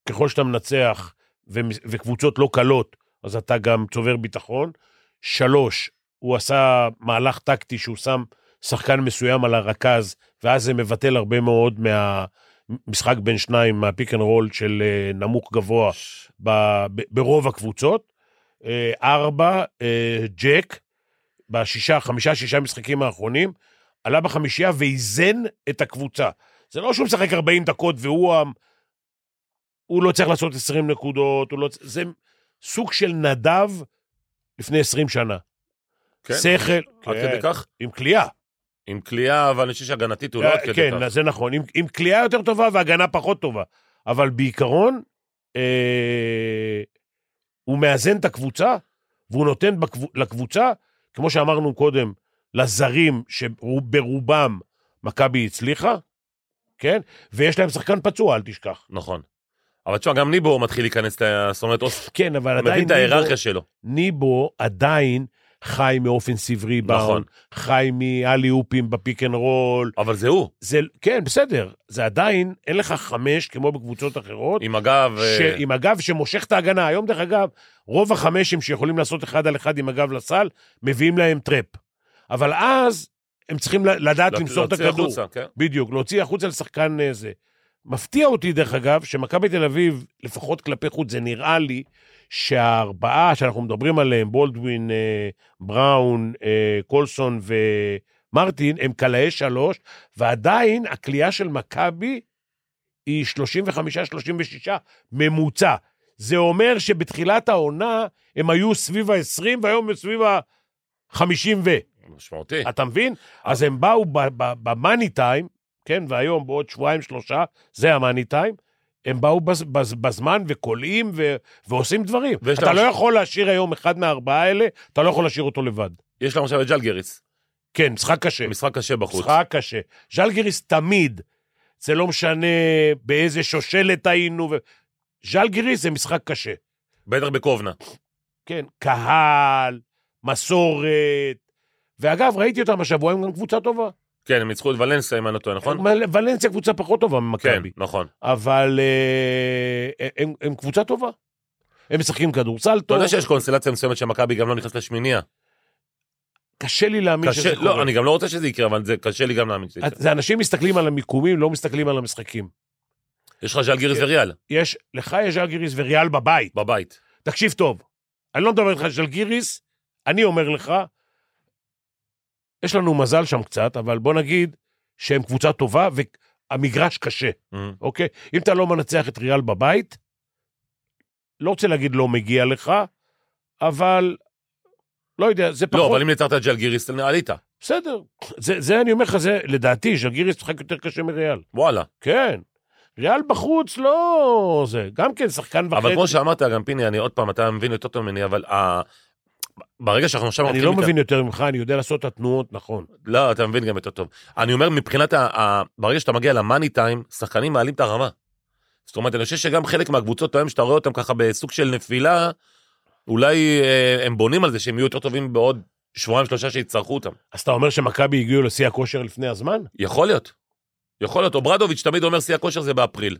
Speaker 3: ככל שאתה מנצח ומ- וקבוצות לא קלות, אז אתה גם צובר ביטחון. שלוש, הוא עשה מהלך טקטי שהוא שם שחקן מסוים על הרכז, ואז זה מבטל הרבה מאוד מהמשחק בין שניים, מהפיק אנד רול של אה, נמוך גבוה ב- ב- ברוב הקבוצות. אה, ארבע, אה, ג'ק, בשישה, חמישה, שישה משחקים האחרונים, עלה בחמישייה ואיזן את הקבוצה. זה לא שהוא משחק 40 דקות והוא ה... הוא לא צריך לעשות 20 נקודות, הוא לא... צ- זה סוג של נדב לפני 20 שנה.
Speaker 2: כן?
Speaker 3: שכל,
Speaker 2: עד
Speaker 3: כן,
Speaker 2: כדי כך?
Speaker 3: עם כליאה.
Speaker 2: עם כליאה, אבל אני חושב שהגנתית הוא לא עד כדי כך.
Speaker 3: כן, זה נכון. עם, עם כליאה יותר טובה והגנה פחות טובה. אבל בעיקרון, אה, הוא מאזן את הקבוצה, והוא נותן בקב... לקבוצה, כמו שאמרנו קודם, לזרים שברובם מכבי הצליחה, כן? ויש להם שחקן פצוע, אל תשכח.
Speaker 2: נכון. אבל תשמע, גם ניבו מתחיל להיכנס, ל- זאת אומרת, אוס-
Speaker 3: כן, אבל
Speaker 2: אתה מבין
Speaker 3: עדיין
Speaker 2: את ההיררכיה שלו.
Speaker 3: ניבו עדיין חי מאופנסיב ריבאונד,
Speaker 2: נכון.
Speaker 3: חי מאלי אופים בפיק אנד רול,
Speaker 2: אבל זה הוא,
Speaker 3: זה, כן, בסדר, זה עדיין, אין לך חמש כמו בקבוצות אחרות,
Speaker 2: עם הגב.
Speaker 3: ש...
Speaker 2: אה,
Speaker 3: עם הגב שמושך את ההגנה. היום, דרך אגב, רוב החמשים שיכולים לעשות אחד על אחד עם הגב לסל, מביאים להם טראפ. אבל אז הם צריכים ל- לדעת
Speaker 2: לה-
Speaker 3: למסור את
Speaker 2: להוציא
Speaker 3: הכדור.
Speaker 2: החוצה, כן.
Speaker 3: בדיוק, להוציא החוצה לשחקן אה, זה. מפתיע אותי, דרך אגב, שמכבי תל אביב, לפחות כלפי חוץ, זה נראה לי שהארבעה שאנחנו מדברים עליהם, בולדווין, אה, בראון, אה, קולסון ומרטין, הם קלעי שלוש, ועדיין הכלייה של מכבי היא 35-36 ממוצע. זה אומר שבתחילת העונה הם היו סביב ה-20 והיום הם סביב ה-50 ו...
Speaker 2: משמעותי.
Speaker 3: אתה מבין? אז הם באו במאני טיים, כן, והיום בעוד שבועיים שלושה, זה המאני טיים, הם באו בז, בז, בזמן וכולאים ו, ועושים דברים.
Speaker 2: ויש
Speaker 3: אתה
Speaker 2: להם-
Speaker 3: לא יכול להשאיר היום אחד מהארבעה האלה, אתה לא יכול להשאיר אותו לבד.
Speaker 2: יש לנו עכשיו את ג'לגריס.
Speaker 3: כן, משחק קשה.
Speaker 2: משחק קשה בחוץ.
Speaker 3: משחק קשה. ז'לגיריס תמיד, זה לא משנה באיזה שושלת היינו, ו... ז'לגיריס זה משחק קשה.
Speaker 2: בטח בקובנה.
Speaker 3: כן, קהל, מסורת. ואגב, ראיתי אותם השבוע, הם גם קבוצה טובה.
Speaker 2: כן, הם ניצחו את ולנסיה, אם אני לא טועה, נכון?
Speaker 3: מל- ולנסיה קבוצה פחות טובה
Speaker 2: כן,
Speaker 3: ממכבי.
Speaker 2: נכון.
Speaker 3: אבל אה, הם, הם קבוצה טובה. הם משחקים כדורסל
Speaker 2: אתה
Speaker 3: טוב,
Speaker 2: יודע שיש קונסטלציה מסוימת שמכבי גם לא נכנס לשמינייה.
Speaker 3: קשה לי להאמין
Speaker 2: קשה,
Speaker 3: שזה קורה.
Speaker 2: לא, אני גם לא רוצה שזה יקרה, אבל זה קשה לי גם להאמין שזה
Speaker 3: את-
Speaker 2: יקרה.
Speaker 3: זה אנשים מסתכלים על המיקומים, לא מסתכלים על המשחקים.
Speaker 2: יש לך
Speaker 3: כן.
Speaker 2: ז'לגיריס וריאל,
Speaker 3: יש, לך יש ז'לגיריס וריאל בבית.
Speaker 2: בבית.
Speaker 3: תקשיב טוב, אני לא מדבר איתך על ז'לגיריס, אני אומר לך, יש לנו מזל שם קצת, אבל בוא נגיד שהם קבוצה טובה והמגרש קשה.
Speaker 2: אמ,
Speaker 3: אוקיי? אם אתה לא מנצח את ריאל בבית, לא רוצה להגיד לא מגיע לך, אבל לא יודע, זה פחות...
Speaker 2: לא, אבל אם ניצרת את ג'לגיריס, עלית.
Speaker 3: בסדר. זה, זה אני אומר לך, זה לדעתי, ז'לגיריס משחק יותר קשה מריאל.
Speaker 2: וואלה.
Speaker 3: כן. ריאל בחוץ, לא... זה גם כן שחקן וחצי.
Speaker 2: אבל כמו שאמרת, גם פיני, אני עוד פעם, אתה מבין יותר טוב ממני, אבל ה- ברגע שאנחנו עכשיו...
Speaker 3: אני
Speaker 2: הולכים
Speaker 3: לא
Speaker 2: איתם-
Speaker 3: מבין יותר ממך, אני יודע לעשות את התנועות נכון.
Speaker 2: לא, אתה מבין גם יותר טוב. אני אומר, מבחינת ה... ה... ברגע שאתה מגיע למאני טיים, שחקנים מעלים את הרמה. זאת אומרת, אני חושב שגם חלק מהקבוצות היום, שאתה רואה אותם ככה בסוג של נפילה, אולי אה, הם בונים על זה שהם יהיו יותר טובים בעוד שבועיים, שלושה שיצטרכו אותם.
Speaker 3: אז אתה אומר שמכבי הגיעו לשיא הכושר לפני הזמן?
Speaker 2: יכול להיות. יכול להיות. אוברדוביץ' תמיד אומר שיא הכושר זה באפריל.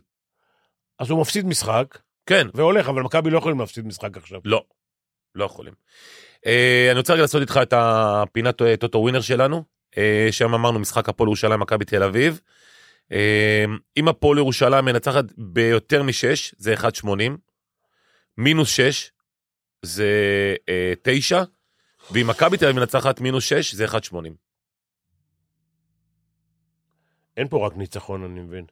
Speaker 3: אז הוא מפסיד משחק,
Speaker 2: כן,
Speaker 3: והולך, אבל מכבי לא יכולים להפסיד משחק עכשיו.
Speaker 2: לא. לא יכולים. אה, אני רוצה רגע לעשות איתך את הפינת אה, טוטו ווינר שלנו, אה, שם אמרנו משחק הפועל ירושלים מכבי תל אביב. אה, אם הפועל ירושלים מנצחת ביותר משש, זה 1.80, מינוס 6 זה אה, 9, ואם מכבי תל אביב מנצחת מינוס 6 זה 1.80.
Speaker 3: אין פה רק ניצחון, אני מבין.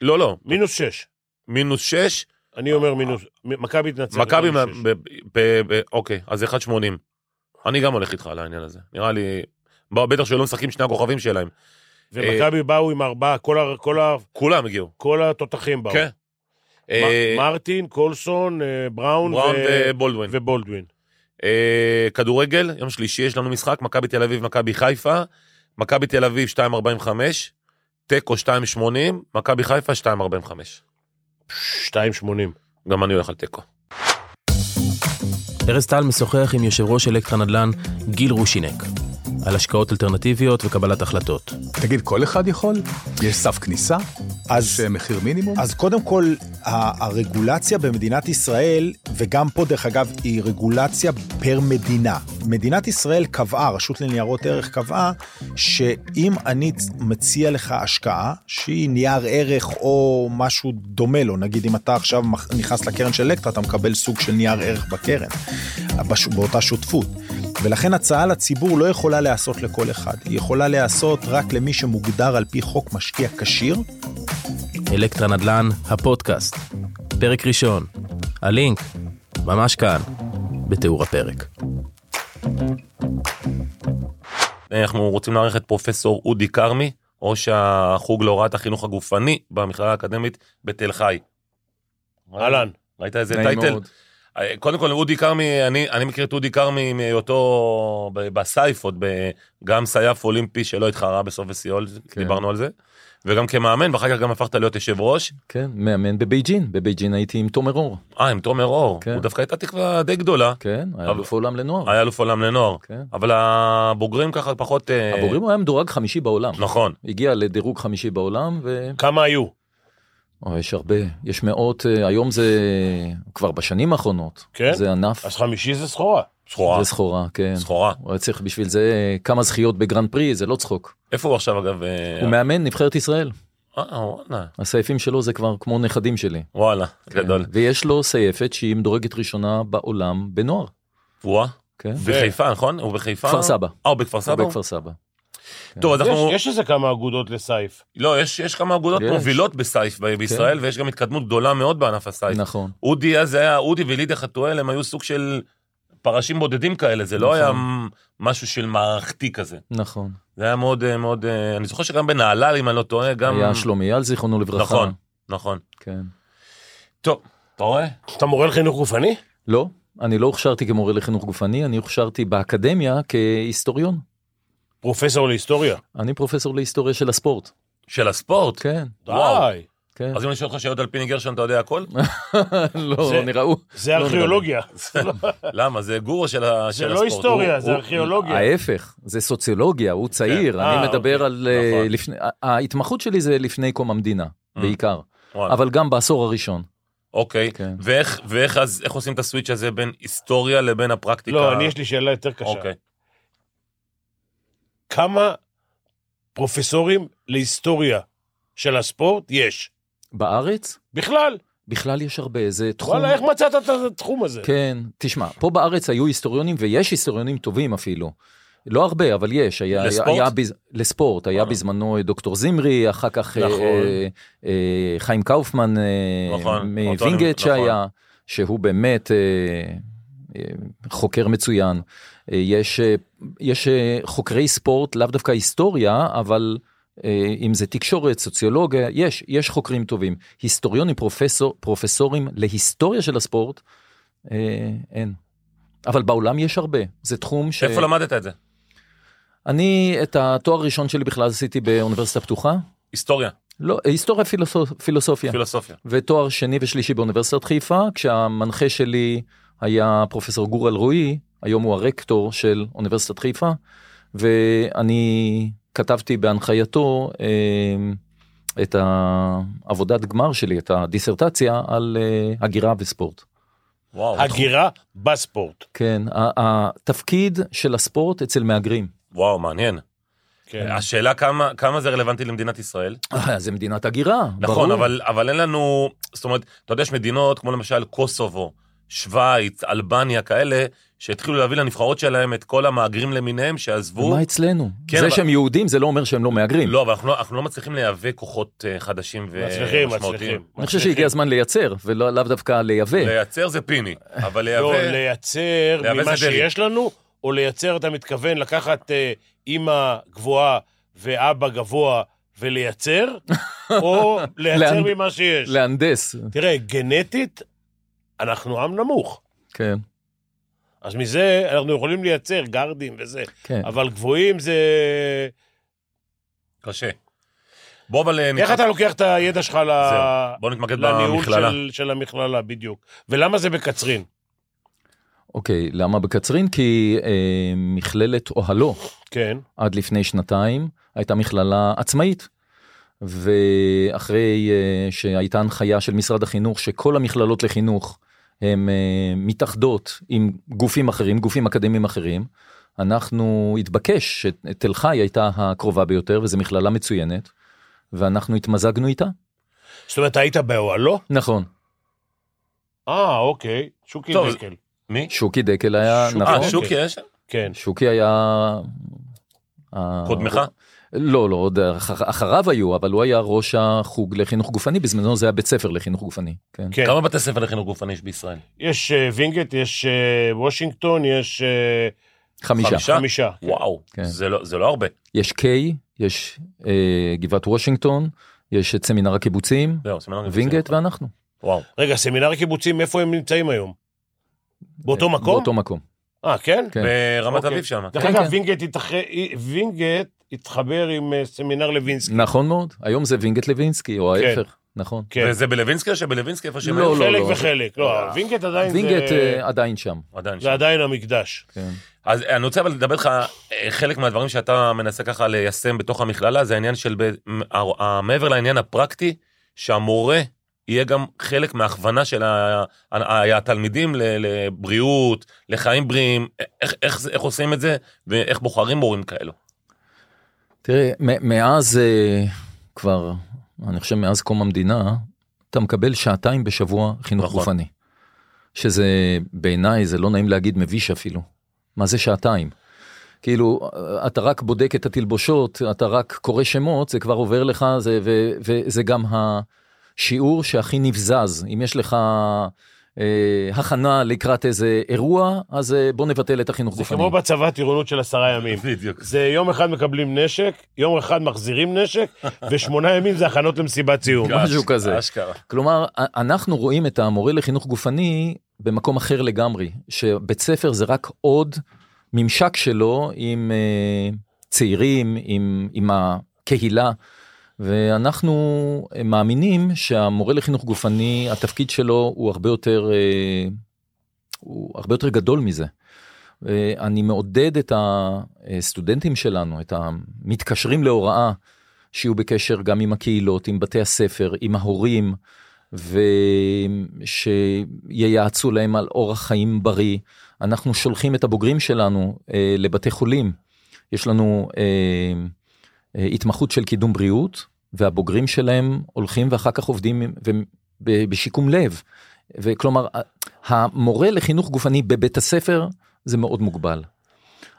Speaker 2: לא, לא,
Speaker 3: מינוס שש.
Speaker 2: מינוס 6,
Speaker 3: אני אומר מינוס, מ- מכבי תנצח.
Speaker 2: מכבי,
Speaker 3: לא מינוס
Speaker 2: מה-
Speaker 3: שש.
Speaker 2: ב- ב- ב- אוקיי, אז 1.80. אני גם הולך איתך על העניין הזה, נראה לי, בוא, בטח שלא משחקים שני הכוכבים שלהם,
Speaker 3: ומכבי באו עם ארבעה, כל ה- כל ה-
Speaker 2: כולם הגיעו.
Speaker 3: כל התותחים באו.
Speaker 2: כן. אה,
Speaker 3: מ- מרטין, קולסון, אה, בראון
Speaker 2: בראון
Speaker 3: ו-
Speaker 2: ובולדווין.
Speaker 3: ובולדווין.
Speaker 2: אה, כדורגל, יום שלישי יש לנו משחק, מכבי תל אביב, מכבי חיפה, מכבי תל אביב 2.45, תיקו 2.80, מכבי חיפה 2.45.
Speaker 3: 2.80.
Speaker 2: גם אני הולך על תיקו.
Speaker 1: ארז טל משוחח עם יושב ראש אלקטרה נדל"ן גיל רושינק על השקעות אלטרנטיביות וקבלת החלטות.
Speaker 4: תגיד, כל אחד יכול? יש סף כניסה? יש
Speaker 5: אז,
Speaker 4: אה, מחיר מינימום?
Speaker 5: אז קודם כל, ה- הרגולציה במדינת ישראל, וגם פה דרך אגב, היא רגולציה פר מדינה. מדינת ישראל קבעה, הרשות לניירות ערך קבעה, שאם אני מציע לך השקעה, שהיא נייר ערך או משהו דומה לו, נגיד אם אתה עכשיו מח- נכנס לקרן של אלקטרה, אתה מקבל סוג של נייר ערך בקרן, בש, באותה שותפות. ולכן הצעה לציבור לא יכולה להיעשות לכל אחד, היא יכולה להיעשות רק למי שמוגדר על פי חוק משקיע כשיר,
Speaker 1: אלקטרה נדל"ן, הפודקאסט. פרק ראשון. הלינק, ממש כאן, בתיאור הפרק.
Speaker 2: אה, אנחנו רוצים לארח את פרופסור אודי כרמי, ראש החוג להוראת החינוך הגופני במכללה האקדמית בתל חי.
Speaker 3: אהלן.
Speaker 2: ראית איזה
Speaker 6: נעים
Speaker 2: טייטל?
Speaker 6: מאוד.
Speaker 2: אה, קודם כל, אודי כרמי, אני, אני מכיר את אודי כרמי מהיותו ב- בסייף, עוד ב- גם סייף אולימפי שלא התחרה בסוף וסיול,
Speaker 6: כן.
Speaker 2: דיברנו על זה, וגם כמאמן, ואחר כך גם הפכת להיות יושב ראש.
Speaker 6: כן, מאמן בבייג'ין, בבייג'ין הייתי עם תומר אור,
Speaker 2: אה, עם תומר אור,
Speaker 6: כן.
Speaker 2: הוא דווקא הייתה תקווה די גדולה,
Speaker 6: כן, היה
Speaker 2: אבל-
Speaker 6: אלוף העולם לנוער,
Speaker 2: היה אלוף עולם לנוער,
Speaker 6: כן.
Speaker 2: אבל הבוגרים ככה פחות... אה,
Speaker 6: הבוגרים הוא היה מדורג חמישי בעולם,
Speaker 2: נכון,
Speaker 6: הגיע לדירוג חמישי בעולם, ו...
Speaker 3: כמה היו?
Speaker 6: או, יש הרבה, יש מאות, אה, היום זה כבר בשנים האחרונות,
Speaker 3: כן?
Speaker 6: זה ענף,
Speaker 3: אז חמישי זה סחורה.
Speaker 2: סחורה,
Speaker 6: זה סחורה, כן,
Speaker 2: סחורה.
Speaker 6: הוא היה צריך בשביל זה כמה זכיות בגרנד פרי, זה לא צחוק,
Speaker 2: איפה הוא עכשיו אגב? אה,
Speaker 6: הוא מאמן נבחרת ישראל,
Speaker 2: אה, וואלה,
Speaker 6: הסעיפים שלו זה כבר כמו נכדים שלי,
Speaker 2: וואלה, גדול.
Speaker 6: כן. ויש לו סייפת שהיא מדורגת ראשונה בעולם בנוער,
Speaker 2: וואה,
Speaker 6: כן,
Speaker 2: בחיפה, נכון? הוא בחיפה?
Speaker 6: כפר סבא,
Speaker 2: אה, הוא בכפר סבא?
Speaker 6: בכפר כן. סבא.
Speaker 2: טוב, אז
Speaker 3: יש-
Speaker 2: אנחנו...
Speaker 3: יש איזה כמה אגודות לסייף.
Speaker 2: לא, יש, יש כמה אגודות
Speaker 6: יש. כן.
Speaker 2: מובילות בסייף ב- בישראל, ויש גם התקדמות גדולה מאוד בענף הסייף.
Speaker 6: נכון,
Speaker 2: אודי אז היה, אודי ולידיה חתואל, הם היו סוג של פרשים בודדים כאלה, זה לא
Speaker 6: נכון.
Speaker 2: היה מ- משהו של מערכתי כזה.
Speaker 6: נכון.
Speaker 2: זה היה מאוד אה, מאוד, אה, אני זוכר שגם בנהלל, אם אני לא טועה, גם...
Speaker 6: היה שלומי אייל זיכרונו לברכה.
Speaker 2: נכון, נכון.
Speaker 6: כן.
Speaker 2: טוב, אתה רואה?
Speaker 3: אתה מורה לחינוך גופני?
Speaker 6: לא, אני לא הוכשרתי כמורה לחינוך גופני, אני הוכשרתי באקדמיה כהיסטוריון.
Speaker 3: פרופסור להיסטוריה.
Speaker 6: אני פרופסור להיסטוריה של הספורט.
Speaker 2: של הספורט.
Speaker 6: כן,
Speaker 2: וואו.
Speaker 3: די.
Speaker 6: כן.
Speaker 2: אז אם אני שואל אותך שאלות על פיני גרשון, אתה יודע הכל?
Speaker 6: לא,
Speaker 3: זה-
Speaker 6: נראה הוא.
Speaker 2: לא,
Speaker 3: זה ארכיאולוגיה.
Speaker 2: למה? זה גורו של ה-
Speaker 3: זה
Speaker 2: של הספורט.
Speaker 3: לא היסטוריה,
Speaker 2: לא הוא-
Speaker 3: זה
Speaker 2: הוא-
Speaker 3: ארכיאולוגיה.
Speaker 6: ההפך, זה סוציולוגיה, הוא צעיר,
Speaker 3: אה,
Speaker 6: אני מדבר
Speaker 3: אוקיי,
Speaker 6: על... אה,
Speaker 2: נכון.
Speaker 6: לפני- ה- ההתמחות שלי זה לפני קום המדינה,
Speaker 3: אה.
Speaker 6: בעיקר,
Speaker 2: וואלה.
Speaker 6: אבל גם בעשור הראשון.
Speaker 2: אוקיי,
Speaker 6: כן.
Speaker 2: ואיך, ואיך אז, איך עושים את הסוויץ' הזה בין היסטוריה לבין הפרקטיקה?
Speaker 3: לא, אני יש לי שאלה יותר קשה.
Speaker 2: אוקיי.
Speaker 3: כמה פרופסורים להיסטוריה של הספורט יש?
Speaker 6: בארץ,
Speaker 3: בכלל.
Speaker 6: בכלל יש הרבה, זה תחום...
Speaker 3: וואלה, איך מצאת את התחום הזה?
Speaker 6: כן, תשמע, פה בארץ היו היסטוריונים, ויש היסטוריונים טובים אפילו. לא הרבה, אבל יש. היה,
Speaker 2: לספורט?
Speaker 6: היה, היה, בז- לספורט, היה
Speaker 2: אה.
Speaker 6: בזמנו אה, דוקטור זמרי, אחר כך אה,
Speaker 2: נכון.
Speaker 6: אה, אה, חיים קאופמן אה,
Speaker 2: נכון, אותו אני-
Speaker 6: מווינגייט
Speaker 2: נכון.
Speaker 6: שהיה, שהוא באמת אה, אה, חוקר מצוין. אה, יש, אה, יש אה, חוקרי ספורט, לאו דווקא היסטוריה, אבל אה, אם זה תקשורת, סוציולוגיה, יש, יש חוקרים טובים. היסטוריונים, פרופסור, פרופסורים להיסטוריה של הספורט, אה, אין. אבל בעולם יש הרבה, זה תחום ש...
Speaker 2: איפה למדת את זה?
Speaker 6: אני את התואר הראשון שלי בכלל עשיתי באוניברסיטה פתוחה,
Speaker 2: היסטוריה,
Speaker 6: לא, היסטוריה פילוסופ... פילוסופיה,
Speaker 2: פילוסופיה.
Speaker 6: ותואר שני ושלישי באוניברסיטת חיפה, כשהמנחה שלי היה פרופסור גור אלרועי, היום הוא הרקטור של אוניברסיטת חיפה, ואני כתבתי בהנחייתו אה, את העבודת גמר שלי, את הדיסרטציה על אה, הגירה וספורט.
Speaker 2: וואו, נכון.
Speaker 3: הגירה בספורט.
Speaker 6: כן, ה- התפקיד של הספורט אצל מהגרים.
Speaker 2: וואו, מעניין.
Speaker 3: כן.
Speaker 2: השאלה כמה, כמה זה רלוונטי למדינת ישראל?
Speaker 6: אה, זה מדינת הגירה,
Speaker 2: נכון,
Speaker 6: ברור.
Speaker 2: אבל, אבל אין לנו, זאת אומרת, אתה יודע, יש מדינות כמו למשל קוסובו, שווייץ, אלבניה, כאלה, שהתחילו להביא לנבחרות שלהם את כל המהגרים למיניהם שעזבו.
Speaker 6: מה אצלנו?
Speaker 2: כן,
Speaker 6: זה
Speaker 2: אבל-
Speaker 6: שהם יהודים זה לא אומר שהם לא מהגרים.
Speaker 2: לא, אבל אנחנו לא- אנחנו לא מצליחים לייבא כוחות אה, חדשים
Speaker 3: מצליחים,
Speaker 2: ומשמעותיים.
Speaker 3: מצליחים.
Speaker 6: אני חושב שהגיע הזמן לייצר, ולאו לאו דווקא לייבא.
Speaker 2: לייצר זה פיני, אבל
Speaker 3: לא,
Speaker 2: לייבא...
Speaker 3: לייצר
Speaker 2: לייבא
Speaker 3: ממה
Speaker 2: זה דרעי.
Speaker 3: שיש לנו, או לייצר, אתה מתכוון לקחת אה, אימא גבוהה ואבא גבוה ולייצר, או לייצר
Speaker 6: לאן-
Speaker 3: ממה שיש.
Speaker 6: להנדס,
Speaker 3: תראה, גנטית, אנחנו עם נמוך.
Speaker 6: כן,
Speaker 3: אז מזה אנחנו יכולים לייצר גרדים וזה,
Speaker 6: כן.
Speaker 3: אבל גבוהים זה...
Speaker 2: קשה. בוא אבל... אה,
Speaker 3: איך
Speaker 2: נתמקד-
Speaker 3: אתה לוקח את הידע שלך ל...
Speaker 2: זהו, בוא נתמקד
Speaker 3: לניהול
Speaker 2: במכללה.
Speaker 3: של, של המכללה, בדיוק. ולמה זה בקצרין?
Speaker 6: אוקיי, למה בקצרין? כי אה, מכללת אוהלו
Speaker 3: כן.
Speaker 6: עד לפני שנתיים הייתה מכללה עצמאית. ואחרי אה, שהייתה הנחיה של משרד החינוך שכל המכללות לחינוך הן אה, מתאחדות עם גופים אחרים, גופים אקדמיים אחרים, אנחנו התבקש שתל חי הייתה הקרובה ביותר וזו מכללה מצוינת, ואנחנו התמזגנו איתה.
Speaker 3: זאת אומרת, היית באוהלו?
Speaker 6: נכון,
Speaker 3: אה, אוקיי. שוקי
Speaker 2: טוב,
Speaker 3: דקל.
Speaker 2: מי?
Speaker 6: שוקי דקל היה,
Speaker 3: שוקי-
Speaker 6: נכון,
Speaker 2: אה, שוקי יש?
Speaker 3: כן.
Speaker 6: שוקי היה... ה-
Speaker 2: קודמך?
Speaker 6: לא, לא, עוד אח- אחריו היו, אבל הוא היה ראש החוג לחינוך גופני, בזמנו זה היה בית ספר לחינוך גופני. כן.
Speaker 3: כן.
Speaker 2: כמה בתי ספר לחינוך גופני יש בישראל?
Speaker 3: יש אה, וינגייט, יש אה, וושינגטון, יש אה,
Speaker 6: חמישה.
Speaker 2: חמישה?
Speaker 3: חמישה.
Speaker 2: וואו,
Speaker 6: כן.
Speaker 2: זה לא- זה לא הרבה.
Speaker 6: יש קיי, יש אה, גבעת וושינגטון, יש את סמינר הקיבוצים,
Speaker 2: זהו, סמינר קיבוצים.
Speaker 6: וינגייט ואנחנו.
Speaker 2: וואו.
Speaker 3: רגע, סמינר הקיבוצים, איפה הם נמצאים היום? באותו
Speaker 6: אה,
Speaker 3: מקום?
Speaker 6: באותו מקום.
Speaker 3: אה, כן?
Speaker 6: כן.
Speaker 2: ברמת
Speaker 3: אוקיי.
Speaker 2: אביב שם.
Speaker 3: דרך
Speaker 6: כן,
Speaker 3: אגב,
Speaker 6: כן.
Speaker 3: וינגייט התאח- וינגייט התחבר עם אה, סמינר לוינסקי.
Speaker 6: נכון מאוד, היום זה וינגייט לוינסקי, או
Speaker 3: כן.
Speaker 6: ההפך, נכון.
Speaker 3: כן.
Speaker 2: וזה בלווינסקי או שבלווינסקי איפה שהם
Speaker 6: לא,
Speaker 2: היו?
Speaker 6: לא.
Speaker 3: חלק וחלק. לא,
Speaker 2: אה.
Speaker 3: וינגייט עדיין
Speaker 6: וינגייט
Speaker 3: זה...
Speaker 6: אה, עדיין שם.
Speaker 2: עדיין שם.
Speaker 3: זה עדיין המקדש.
Speaker 6: כן.
Speaker 2: אז אני רוצה אבל לדבר איתך, אה, חלק מהדברים שאתה מנסה ככה ליישם בתוך המכללה, זה העניין של, ב- מ- ה- ה- מעבר לעניין הפרקטי, שהמורה יהיה גם חלק מההכוונה של ה- ה- התלמידים ל- לבריאות, לחיים בריאים, א- איך- איך זה- איך עושים את זה, ואיך בוחרים מורים כאלו.
Speaker 6: תראה, מ- מאז אה, כבר, אני חושב מאז קום המדינה, אתה מקבל שעתיים בשבוע חינוך
Speaker 2: נכון.
Speaker 6: נכון. גופני. שזה בעיניי, זה לא נעים להגיד מביש אפילו. מה זה שעתיים? כאילו, אה, אתה רק בודק את התלבושות, אתה רק קורא שמות, זה כבר עובר לך, זה, ו, וזה גם השיעור שהכי נבזז. אם יש לך אה, הכנה לקראת איזה אירוע, אז אה, בוא נבטל את החינוך
Speaker 3: זה
Speaker 6: גופני.
Speaker 3: כמו בצבא טירונות של עשרה ימים.
Speaker 2: בדיוק.
Speaker 3: זה יום אחד מקבלים נשק, יום אחד מחזירים נשק, ושמונה ימים זה הכנות למסיבת סיום.
Speaker 6: משהו לא כזה.
Speaker 2: אשכרה.
Speaker 6: כלומר, א- אנחנו רואים את המורה לחינוך גופני במקום אחר לגמרי, שבית ספר זה רק עוד ממשק שלו עם אה, צעירים, עם, עם הקהילה, ואנחנו אה, מאמינים שהמורה לחינוך גופני, התפקיד שלו הוא הרבה יותר, אה, הוא הרבה יותר גדול מזה. אה, אני מעודד את הסטודנטים שלנו, את המתקשרים להוראה, שיהיו בקשר גם עם הקהילות, עם בתי הספר, עם ההורים, ושייעצו להם על אורח חיים בריא. אנחנו שולחים את הבוגרים שלנו אה, לבתי חולים. יש לנו אה, אה, התמחות של קידום בריאות, והבוגרים שלהם הולכים ואחר כך עובדים עם- ו- ב- בשיקום לב. וכלומר, ה- המורה לחינוך גופני בבית הספר זה מאוד מוגבל.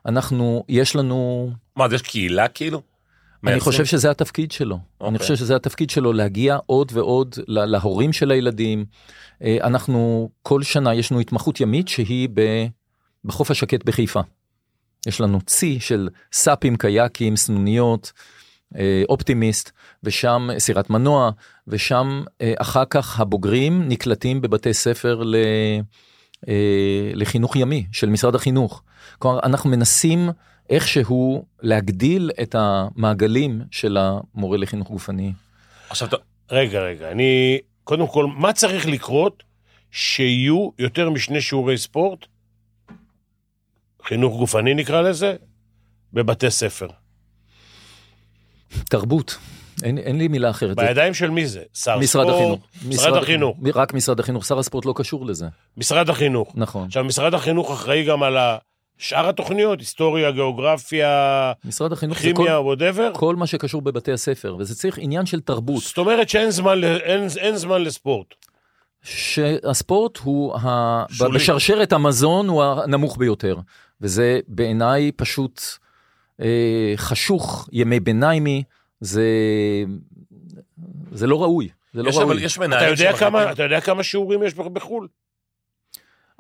Speaker 6: אנחנו, יש לנו
Speaker 2: מה, אז יש קהילה כאילו?
Speaker 6: אני
Speaker 2: מייצרים?
Speaker 6: חושב שזה התפקיד שלו.
Speaker 2: אוקיי.
Speaker 6: אני חושב שזה התפקיד שלו להגיע עוד ועוד לה, להורים של הילדים. אה, אנחנו כל שנה יש לנו התמחות ימית שהיא ב, בחוף השקט בחיפה. יש לנו צי של סאפים, קייקים, סנוניות, אה, אופטימיסט, ושם אה, סירת מנוע, ושם אה, אחר כך הבוגרים נקלטים בבתי ספר ל, אה, לחינוך ימי של משרד החינוך. כלומר, אנחנו מנסים איכשהו להגדיל את המעגלים של המורה לחינוך גופני.
Speaker 2: עכשיו, אתה-
Speaker 3: רגע, רגע, אני... קודם כל, מה צריך לקרות שיהיו יותר משני שיעורי ספורט, חינוך גופני נקרא לזה, בבתי ספר?
Speaker 6: תרבות, אין, אין לי מילה אחרת. זה
Speaker 3: בידיים של מי זה? שר
Speaker 6: משרד
Speaker 3: ספורט?
Speaker 6: החינוך.
Speaker 3: משרד החינוך.
Speaker 6: רק משרד החינוך, שר הספורט לא קשור לזה.
Speaker 3: משרד החינוך.
Speaker 6: נכון.
Speaker 3: עכשיו, משרד החינוך אחראי גם על ה- שאר התוכניות, היסטוריה, גיאוגרפיה,
Speaker 6: משרד החינוך זה כל,
Speaker 3: כימיה, וואטאבר.
Speaker 6: כל מה שקשור בבתי הספר, וזה צריך עניין של תרבות.
Speaker 3: זאת אומרת שאין זמן, ל- אין, אין זמן לספורט.
Speaker 6: שהספורט הוא, ה...
Speaker 2: שולי.
Speaker 6: בשרשרת המזון הוא הנמוך ביותר, וזה בעיניי פשוט אה, חשוך, ימי ביניימי, זה, זה לא ראוי, זה לא
Speaker 2: יש
Speaker 6: ראוי.
Speaker 2: אבל יש
Speaker 3: אתה
Speaker 2: מנהלים
Speaker 3: יודע,
Speaker 2: שמחליטים-
Speaker 3: כמה, אתה יודע כמה שיעורים יש בחו"ל?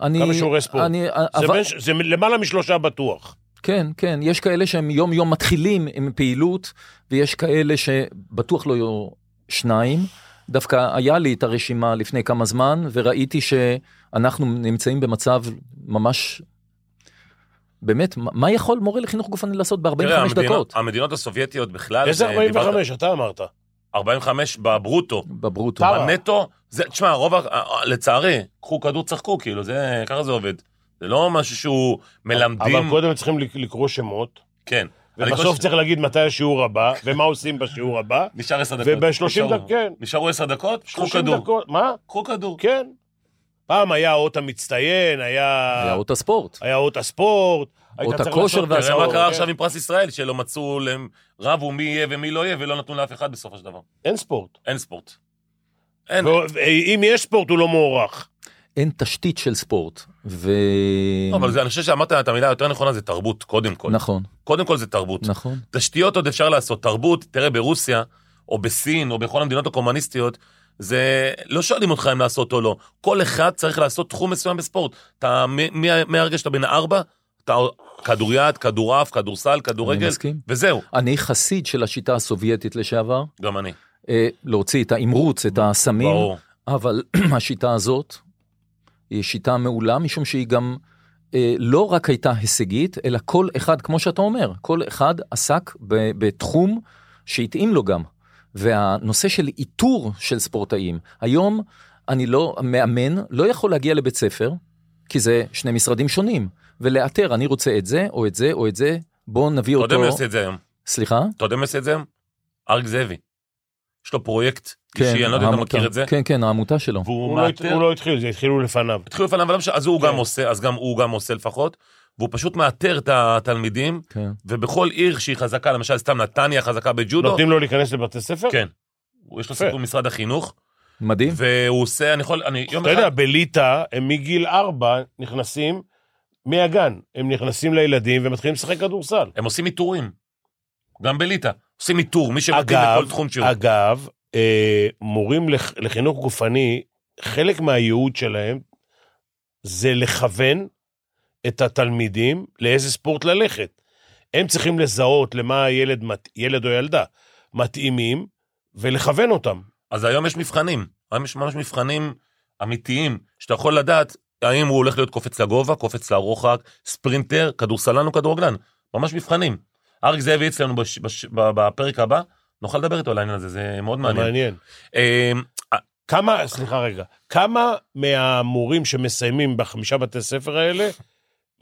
Speaker 6: אני,
Speaker 3: כמה שיעורי ספורט?
Speaker 6: אני,
Speaker 3: זה,
Speaker 6: אבל-
Speaker 3: בין, ש- זה למעלה משלושה בטוח.
Speaker 6: כן, כן, יש כאלה שהם יום-יום מתחילים עם פעילות, ויש כאלה שבטוח לא יהיו שניים. דווקא היה לי את הרשימה לפני כמה זמן, וראיתי שאנחנו נמצאים במצב ממש... באמת, מה- מה יכול מורה לחינוך גופני לעשות
Speaker 2: תראה,
Speaker 6: ב-45
Speaker 2: המדינות-
Speaker 6: דקות?
Speaker 2: המדינות הסובייטיות בכלל,
Speaker 3: איזה
Speaker 2: זה- דיברת-
Speaker 3: 45? אתה אמרת.
Speaker 2: 45 בברוטו,
Speaker 6: בברוטו.
Speaker 3: טרה.
Speaker 2: בנטו, זה, תשמע, רוב, ה- ה- לצערי, קחו כדור, צחקו, כאילו, זה, ככה זה עובד. זה לא משהו שהוא מלמדים,
Speaker 3: אבל קודם צריכים לק- לקרוא שמות,
Speaker 2: כן. אני
Speaker 3: ובסוף
Speaker 2: חושב-
Speaker 3: צריך להגיד מתי השיעור הבא, ומה עושים בשיעור הבא,
Speaker 2: נשאר עשר דקות.
Speaker 3: וב-30
Speaker 2: נשארו-
Speaker 3: דקות, כן.
Speaker 2: נשארו עשר דקות, נכון, קחו
Speaker 3: 30
Speaker 2: כדור.
Speaker 3: דקות, מה?
Speaker 2: קחו כדור.
Speaker 3: כן. פעם היה אות המצטיין,
Speaker 6: היה
Speaker 3: היה
Speaker 6: אות הספורט.
Speaker 3: היה אות הספורט. היית
Speaker 6: אות
Speaker 3: צריך
Speaker 6: הכושר
Speaker 3: לעשות-
Speaker 2: תראה מה
Speaker 6: והסעות,
Speaker 2: קרה
Speaker 3: כן.
Speaker 2: עכשיו עם פרס ישראל, שלא מצאו, להם- רבו מי יהיה ומי לא יהיה, ולא נתנו לאף אחד בסופו של דבר.
Speaker 3: אין ספורט.
Speaker 2: אין ספורט. אין.
Speaker 3: ו- אם יש ספורט, הוא לא מוערך.
Speaker 6: אין תשתית של ספורט. ו...
Speaker 2: לא, אבל זה- אני חושב שאמרת את המילה היותר נכונה, זה תרבות, קודם כל.
Speaker 6: נכון,
Speaker 2: קודם כל זה תרבות.
Speaker 6: נכון.
Speaker 2: תשתיות עוד אפשר לעשות, תרבות, תראה ברוסיה, או בסין, או בכל המדינות הקומוניסטיות, זה לא שואלים אותך אם לעשות או לא. כל אחד צריך לעשות תחום מסוים בספורט. אתה, מ- מ- מהרגע שאתה בן ארבע, אתה כדוריד, כדורעף, כדורסל,
Speaker 6: אני
Speaker 2: כדורגל,
Speaker 6: מסכים.
Speaker 2: וזהו,
Speaker 6: אני חסיד של השיטה הסובייטית לשעבר,
Speaker 2: גם אני.
Speaker 6: אה, להוציא את האמרוץ, את הסמים.
Speaker 2: ברור.
Speaker 6: אבל השיטה הזאת היא שיטה מעולה, משום שהיא גם אה, לא רק הייתה הישגית, אלא כל אחד, כמו שאתה אומר, כל אחד עסק ב, בתחום שהתאים לו גם. והנושא של איתור של ספורטאים, היום אני לא, מאמן לא יכול להגיע לבית ספר, כי זה שני משרדים שונים, ולאתר, אני רוצה את זה, או את זה, או את זה, בואו נביא
Speaker 2: אתה יודע
Speaker 6: אותו...
Speaker 2: מי עושה את זה היום?
Speaker 6: סליחה?
Speaker 2: אתה יודע מי עושה את זה היום? אריק זאבי. יש לו פרויקט אישי, אני לא יודע אם אתה
Speaker 6: כן, העמותה.
Speaker 2: מכיר את זה.
Speaker 6: כן, כן, העמותה שלו.
Speaker 2: והוא
Speaker 3: הוא לא הת-
Speaker 2: מאתר...
Speaker 3: הוא לא התחיל, זה התחילו לפניו.
Speaker 2: התחילו לפניו, אבל לא משנה, אז הוא
Speaker 3: כן.
Speaker 2: גם עושה, אז גם הוא גם עושה לפחות, והוא פשוט מאתר את התלמידים,
Speaker 6: כן.
Speaker 2: ובכל עיר שהיא חזקה, למשל סתם נתניה חזקה בג'ודו,
Speaker 3: נותנים לו להיכנס לבתי ספר?
Speaker 2: כן. הוא- יש לו
Speaker 3: יפה.
Speaker 2: סיפור עם משרד החינוך,
Speaker 6: מדהים.
Speaker 2: והוא עושה, אני יכול, אני יום
Speaker 3: אתה יודע,
Speaker 2: אחד,
Speaker 3: בליטא, הם מגיל ארבע נכנסים מהגן. הם נכנסים לילדים ומתחילים לשחק כדורסל.
Speaker 2: הם עושים איתורים, גם בליטא, עושים איתור, מי שמתאים
Speaker 3: אגב,
Speaker 2: לכל תחום שהוא.
Speaker 3: אגב, אה, מורים לח- לחינוך גופני, חלק מהייעוד שלהם זה לכוון את התלמידים לאיזה ספורט ללכת. הם צריכים לזהות למה הילד, מת- ילד או ילדה, מתאימים, ולכוון אותם.
Speaker 2: אז היום יש מבחנים, היום יש ממש מבחנים אמיתיים, שאתה יכול לדעת האם הוא הולך להיות קופץ לגובה, קופץ לרוחק, ספרינטר, כדורסלן או כדורגלן, ממש מבחנים. אריק זאבי אצלנו בש, בש, ב- בפרק הבא, נוכל לדבר איתו על העניין הזה, זה מאוד מעניין.
Speaker 3: מעניין.
Speaker 2: אה,
Speaker 3: כמה, סליחה רגע, כמה מהמורים שמסיימים בחמישה בתי ספר האלה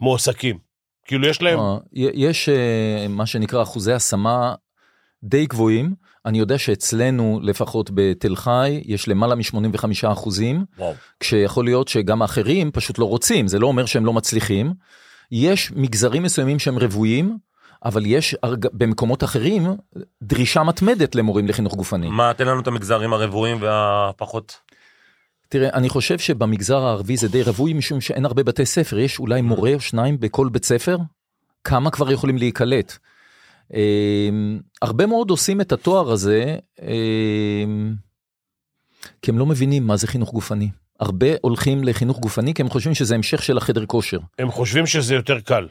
Speaker 3: מועסקים? כאילו יש להם,
Speaker 6: אה, י- יש אה, מה שנקרא אחוזי השמה די גבוהים. אני יודע שאצלנו, לפחות בתל חי, יש למעלה מ-85 אחוזים,
Speaker 2: וואו.
Speaker 6: כשיכול להיות שגם האחרים פשוט לא רוצים, זה לא אומר שהם לא מצליחים. יש מגזרים מסוימים שהם רוויים, אבל יש הרג- במקומות אחרים דרישה מתמדת למורים לחינוך גופני.
Speaker 2: מה, תן לנו את המגזרים הרבועים והפחות.
Speaker 6: תראה, אני חושב שבמגזר הערבי זה די רווי, משום שאין הרבה בתי ספר, יש אולי מורה או שניים בכל בית ספר, כמה כבר יכולים להיקלט? אמ, הרבה מאוד עושים את התואר הזה, אמ, כי הם לא מבינים מה זה חינוך גופני. הרבה הולכים לחינוך גופני כי הם חושבים שזה המשך של החדר כושר.
Speaker 3: הם חושבים שזה יותר קל.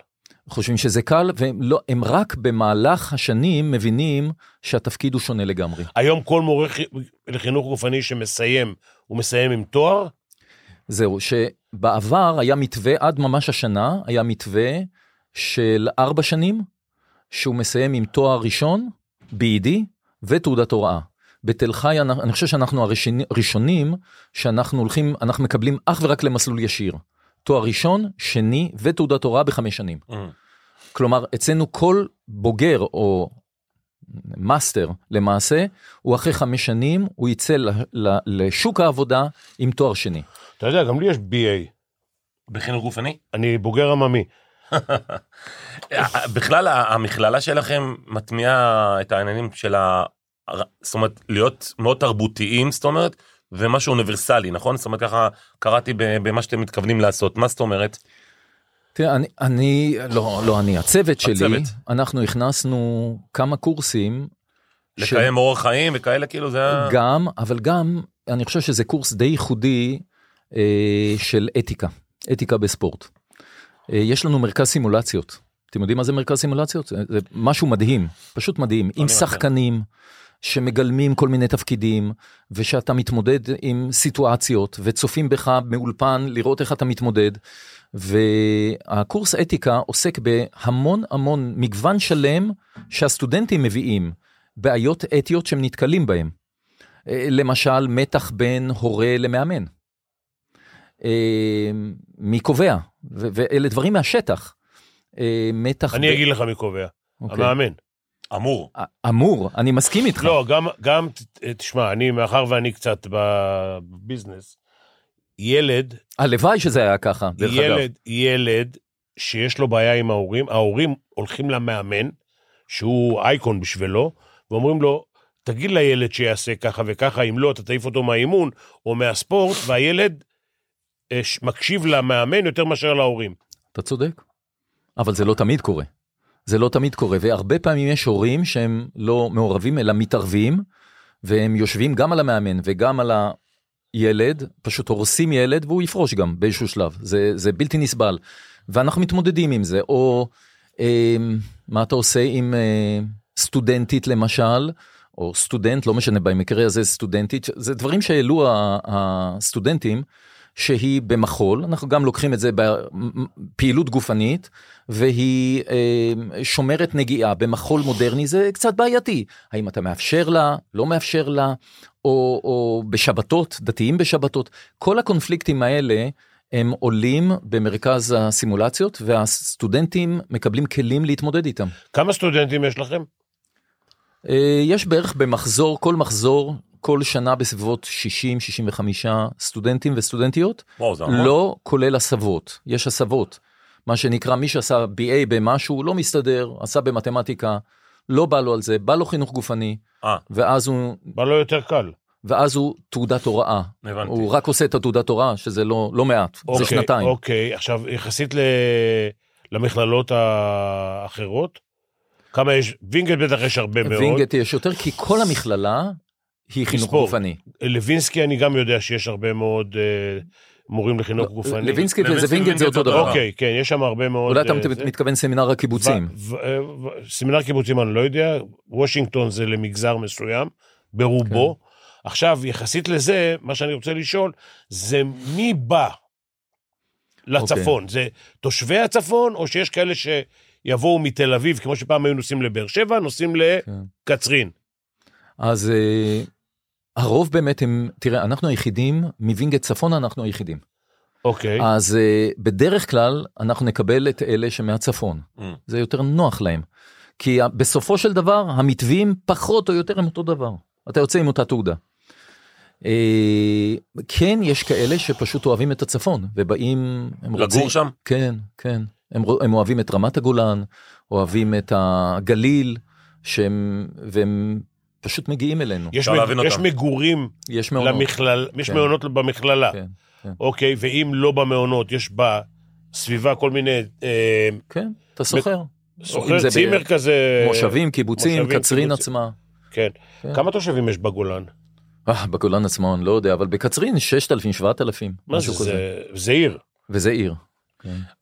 Speaker 6: חושבים שזה קל, והם לא, הם רק במהלך השנים מבינים שהתפקיד הוא שונה לגמרי.
Speaker 3: היום כל מורה חי- לחינוך גופני שמסיים, הוא מסיים עם תואר,
Speaker 6: זהו, שבעבר היה מתווה, עד ממש השנה, היה מתווה של ארבע שנים, שהוא מסיים עם תואר ראשון, B.Ed ותעודת הוראה. בתל חי, אני אני חושב שאנחנו הראשונים ראשונים שאנחנו הולכים, אנחנו מקבלים אך ורק למסלול ישיר. תואר ראשון, שני ותעודת הוראה בחמש שנים. כלומר, אצלנו כל בוגר או מאסטר למעשה, הוא אחרי חמש שנים, הוא יצא ל- ל- לשוק העבודה עם תואר שני.
Speaker 3: אתה יודע, גם לי יש BA,
Speaker 2: בחינוך גופני?
Speaker 3: אני בוגר עממי.
Speaker 2: בכלל, ה- המכללה שלכם מטמיעה את העניינים של ה... הר- זאת אומרת, להיות מאוד תרבותיים, זאת אומרת, ומשהו אוניברסלי, נכון? זאת אומרת, ככה קראתי ב- במה שאתם מתכוונים לעשות. מה זאת אומרת?
Speaker 6: תראה, אני, אני, לא, לא אני, הצוות שלי,
Speaker 2: הצוות.
Speaker 6: אנחנו הכנסנו כמה קורסים. ש-
Speaker 2: לקיים אורח חיים וכאלה, כאילו, זה ה...
Speaker 6: גם, אבל גם, אני חושב שזה קורס די ייחודי אה, של אתיקה, אתיקה בספורט. אה, יש לנו מרכז סימולציות. אתם יודעים מה זה מרכז סימולציות? זה, זה משהו מדהים, פשוט מדהים, עם
Speaker 2: מכיר.
Speaker 6: שחקנים שמגלמים כל מיני תפקידים, ושאתה מתמודד עם סיטואציות, וצופים בך מאולפן לראות איך אתה מתמודד. והקורס אתיקה עוסק בהמון המון מגוון שלם שהסטודנטים מביאים, בעיות אתיות שהם נתקלים בהן. אה, למשל, מתח בין הורה למאמן. אה, מי קובע? ו- ואלה דברים מהשטח. אה, מתח... בין-
Speaker 3: אני אגיד לך מי קובע,
Speaker 6: אוקיי.
Speaker 3: המאמן.
Speaker 2: אמור.
Speaker 6: א- אמור, אני מסכים איתך.
Speaker 3: לא, גם, גם, ת- תשמע, אני, מאחר ואני קצת בביזנס, ילד,
Speaker 6: הלוואי שזה היה ככה, דרך אגב.
Speaker 3: ילד, ילד שיש לו בעיה עם ההורים, ההורים הולכים למאמן, שהוא אייקון בשבילו, ואומרים לו, תגיד לילד שיעשה ככה וככה, אם לא, אתה תעיף אותו מהאימון או מהספורט, והילד אה, ש- מקשיב למאמן יותר מאשר להורים.
Speaker 6: אתה צודק. אבל זה לא תמיד קורה. זה לא תמיד קורה, והרבה פעמים יש הורים שהם לא מעורבים אלא מתערבים, והם יושבים גם על המאמן וגם על הילד, פשוט הורסים ילד והוא יפרוש גם באיזשהו שלב, זה, זה בלתי נסבל. ואנחנו מתמודדים עם זה, או אה, מה אתה עושה עם אה, סטודנטית למשל, או סטודנט, לא משנה, במקרה הזה סטודנטית, זה דברים שהעלו ה- הסטודנטים. שהיא במחול, אנחנו גם לוקחים את זה בפעילות גופנית, והיא אה, שומרת נגיעה במחול מודרני, זה קצת בעייתי. האם אתה מאפשר לה, לא מאפשר לה, או, או בשבתות, דתיים בשבתות, כל הקונפליקטים האלה הם עולים במרכז הסימולציות, והסטודנטים מקבלים כלים להתמודד איתם.
Speaker 3: כמה סטודנטים יש לכם?
Speaker 6: אה, יש בערך במחזור, כל מחזור, כל שנה בסביבות 60-65 סטודנטים וסטודנטיות.
Speaker 2: וואו, זה המון.
Speaker 6: לא כולל הסבות, יש הסבות. מה שנקרא, מי שעשה BA במשהו, לא מסתדר, עשה במתמטיקה, לא בא לו על זה, בא לו חינוך גופני,
Speaker 2: אה,
Speaker 6: ואז הוא,
Speaker 3: בא לו לא יותר קל.
Speaker 6: ואז הוא תעודת הוראה.
Speaker 2: הבנתי.
Speaker 6: הוא רק עושה את התעודת הוראה, שזה לא, לא מעט, זה
Speaker 3: אוקיי,
Speaker 6: שנתיים.
Speaker 3: אוקיי, עכשיו, יחסית ל... למכללות האחרות, כמה יש? וינגייט בטח יש הרבה מאוד.
Speaker 6: וינגייט יש יותר, כי כל המכללה היא חינוך
Speaker 3: ספורט.
Speaker 6: גופני.
Speaker 3: לוינסקי, אני גם יודע שיש הרבה מאוד אה, מורים לחינוך גופני.
Speaker 6: לא, לוינסקי
Speaker 2: לוינסקי
Speaker 6: וזה וינגייט זה
Speaker 2: וינגייט
Speaker 6: אותו דבר.
Speaker 2: אותו דבר.
Speaker 3: אוקיי, כן, יש שם הרבה מאוד...
Speaker 6: אולי אתה
Speaker 3: אה,
Speaker 6: מת-
Speaker 3: זה.
Speaker 6: מתכוון סמינר הקיבוצים.
Speaker 3: ו- ו- ו- סמינר קיבוצים אני לא יודע, וושינגטון זה למגזר מסוים, ברובו.
Speaker 6: כן.
Speaker 3: עכשיו, יחסית לזה, מה שאני רוצה לשאול, זה מי בא
Speaker 6: אוקיי.
Speaker 3: לצפון? זה תושבי הצפון, או שיש כאלה שיבואו מתל אביב, כמו שפעם היו נוסעים לבאר שבע, נוסעים
Speaker 6: כן.
Speaker 3: לקצרין?
Speaker 6: אז אה, הרוב באמת הם, תראה, אנחנו היחידים, מווינגייט צפונה אנחנו היחידים.
Speaker 3: אוקיי.
Speaker 6: אז אה, בדרך כלל אנחנו נקבל את אלה שמהצפון,
Speaker 2: Mm.
Speaker 6: זה יותר נוח להם. כי ה- בסופו של דבר המתווים פחות או יותר הם אותו דבר, אתה יוצא עם אותה תעודה. אה, כן יש כאלה שפשוט אוהבים את הצפון ובאים, הם
Speaker 2: לגור שם?
Speaker 6: כן, כן, הם, רוא- הם אוהבים את רמת הגולן, אוהבים את הגליל, שהם, והם פשוט מגיעים אלינו,
Speaker 3: יש
Speaker 2: אפשר
Speaker 3: מג-
Speaker 2: להבין
Speaker 3: יש
Speaker 2: אותם.
Speaker 3: מגורים
Speaker 6: יש מעונות.
Speaker 3: למכלל, יש
Speaker 6: כן.
Speaker 3: מעונות במכללה.
Speaker 6: כן, כן.
Speaker 3: אוקיי, ואם לא במעונות, יש בסביבה כל מיני אה,
Speaker 6: כן, אתה סוחר, אם זה
Speaker 3: סוחר
Speaker 6: ב-
Speaker 3: צימר כזה.
Speaker 6: מושבים, קיבוצים,
Speaker 3: אה, מושבים,
Speaker 6: קצרין
Speaker 3: קיבוצים.
Speaker 6: עצמה.
Speaker 3: כן.
Speaker 6: כן.
Speaker 3: כמה תושבים יש בגולן?
Speaker 6: אה, בגולן עצמו אני לא יודע, אבל בקצרין 6,000, 7,000,
Speaker 3: מה
Speaker 6: משהו
Speaker 3: זה?
Speaker 6: כזה.
Speaker 3: זה- זה עיר.
Speaker 6: וזה עיר.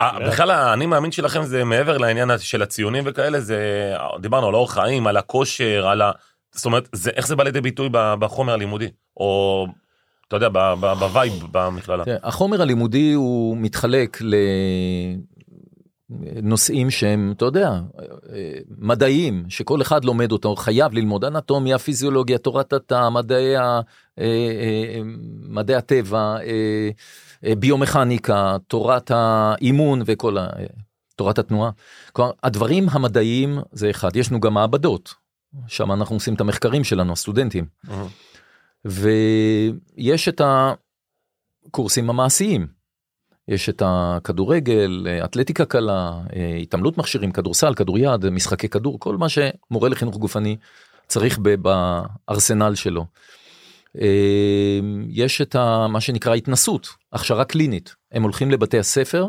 Speaker 2: אה,
Speaker 6: כן.
Speaker 2: בכלל, האני מאמין שלכם זה מעבר לעניין של הציונים וכאלה, זה... דיברנו על אורח חיים, על הכושר, על ה... זאת אומרת, זה, איך זה בא לידי ביטוי ב- בחומר הלימודי? או, אתה יודע, ב- ב- בווייב במכללה.
Speaker 6: תראה, כן, החומר הלימודי הוא מתחלק לנושאים שהם, אתה יודע, אה, מדעיים, שכל אחד לומד אותו, חייב ללמוד אנטומיה, פיזיולוגיה, תורת התא, מדעי, ה- אה, אה, מדעי הטבע, אה, אה, ביומכניקה, תורת האימון וכל ה... אה, תורת התנועה. כלומר, הדברים המדעיים זה אחד, יש לנו גם מעבדות, שם אנחנו עושים את המחקרים שלנו, הסטודנטים.
Speaker 2: אהה.
Speaker 6: ויש את הקורסים המעשיים. יש את הכדורגל, אה, אתלטיקה קלה, אה, התעמלות מכשירים, כדורסל, כדוריד, משחקי כדור, כל מה שמורה לחינוך גופני צריך ב- בארסנל שלו. אה, יש את ה, מה שנקרא התנסות, הכשרה קלינית. הם הולכים לבתי הספר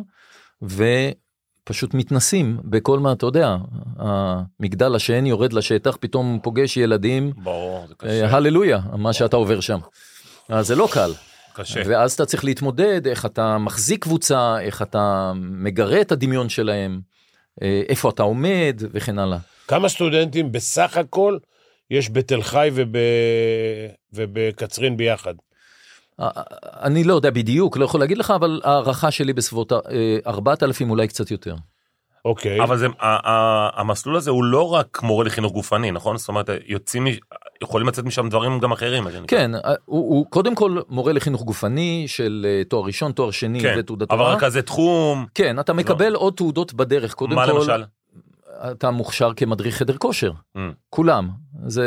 Speaker 6: ופשוט מתנסים בכל מה, אתה יודע, המגדל השן יורד לשטח, פתאום פוגש ילדים,
Speaker 2: ברור, זה
Speaker 6: אה,
Speaker 2: קשה,
Speaker 6: הללויה, מה שאתה עובר שם. אז זה לא קל.
Speaker 2: קשה.
Speaker 6: ואז אתה צריך להתמודד, איך אתה מחזיק קבוצה, איך אתה מגרה את הדמיון שלהם, אה, איפה אתה עומד וכן הלאה.
Speaker 3: כמה סטודנטים בסך הכל יש בתל חי וב... ובקצרין ביחד?
Speaker 6: אה, אני לא יודע בדיוק, לא יכול להגיד לך, אבל הערכה שלי בסביבות אה, 4,000 אולי קצת יותר.
Speaker 3: אוקיי.
Speaker 2: אבל זה, ה- ה- המסלול הזה הוא לא רק מורה לחינוך גופני, נכון? זאת אומרת, יוצאים, מש- יכולים לצאת משם דברים גם אחרים. מה שנקרא.
Speaker 6: כן, אה, הוא, הוא קודם כל מורה לחינוך גופני של אה, תואר ראשון, תואר שני
Speaker 2: כן,
Speaker 6: ותעודת
Speaker 2: אבל
Speaker 6: הוראה.
Speaker 2: רק כזה תחום,
Speaker 6: כן, אתה מקבל עוד תעודות בדרך, קודם
Speaker 2: מה
Speaker 6: כל,
Speaker 2: למשל?
Speaker 6: אתה מוכשר כמדריך חדר כושר,
Speaker 2: Mm.
Speaker 6: כולם. זה...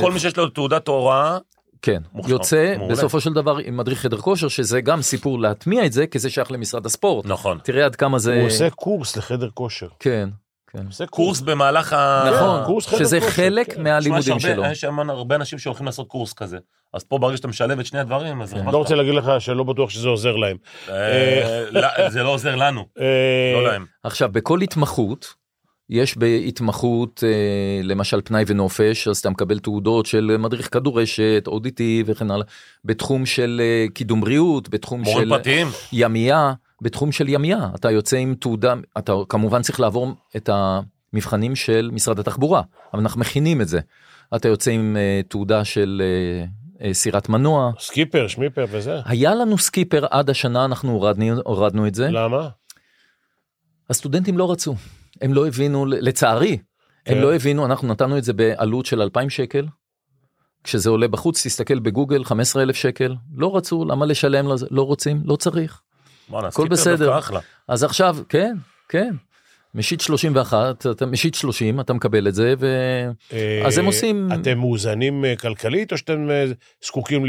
Speaker 2: כל מי שיש לו תעודת הוראה,
Speaker 6: כן,
Speaker 2: מוכשר,
Speaker 6: יוצא
Speaker 2: מעולה.
Speaker 6: בסופו של דבר עם מדריך חדר כושר, שזה גם סיפור להטמיע את זה, כי זה שייך למשרד הספורט.
Speaker 2: נכון.
Speaker 6: תראה עד כמה זה...
Speaker 3: הוא עושה קורס לחדר כושר.
Speaker 6: כן, כן.
Speaker 3: עושה
Speaker 2: קורס במהלך ה...
Speaker 6: נכון,
Speaker 3: אה, קורס חדר
Speaker 6: שזה
Speaker 3: כושר,
Speaker 6: חלק
Speaker 3: כן.
Speaker 2: תשמע,
Speaker 6: מהלימודים
Speaker 2: יש הרבה-
Speaker 6: שלו.
Speaker 2: יש המון הרבה אנשים שהולכים לעשות קורס כזה. אז פה ברגע שאתה משלב את שני הדברים,
Speaker 6: כן.
Speaker 2: אז...
Speaker 3: אני
Speaker 2: הרווחת.
Speaker 3: לא רוצה להגיד לך שלא בטוח שזה עוזר להם.
Speaker 2: אה, לא, זה לא עוזר לנו,
Speaker 3: אה,
Speaker 2: לא להם.
Speaker 6: עכשיו, בכל התמחות, יש בהתמחות, אה, למשל פנאי ונופש, אז אתה מקבל תעודות של מדריך כדורשת, אודיטי וכן הלאה, בתחום של אה, קידום בריאות, בתחום של...
Speaker 2: מורים פרטיים,
Speaker 6: ימייה בתחום של ימייה אתה יוצא עם תעודה אתה כמובן צריך לעבור את המבחנים של משרד התחבורה אבל אנחנו מכינים את זה. אתה יוצא עם אה, תעודה של אה, אה, סירת מנוע
Speaker 3: סקיפר, שמיפר וזה.
Speaker 6: היה לנו סקיפר עד השנה אנחנו הורדנו הורדנו את זה
Speaker 3: למה?
Speaker 6: הסטודנטים לא רצו הם לא הבינו לצערי הם
Speaker 3: כן.
Speaker 6: לא הבינו אנחנו נתנו את זה בעלות של 2,000 שקל. כשזה עולה בחוץ תסתכל בגוגל 15,000 שקל לא רצו למה לשלם לזה לא רוצים לא צריך.
Speaker 2: וואלה,
Speaker 6: הכל
Speaker 2: סקיפר
Speaker 6: בסדר.
Speaker 2: דווקא אחלה.
Speaker 6: אז עכשיו, כן, כן. משיט 31, אתה משיט 30, אתה מקבל את זה, ו...
Speaker 3: אה,
Speaker 6: אז הם עושים-
Speaker 3: אתם מאוזנים אה, כלכלית או שאתם אה, זקוקים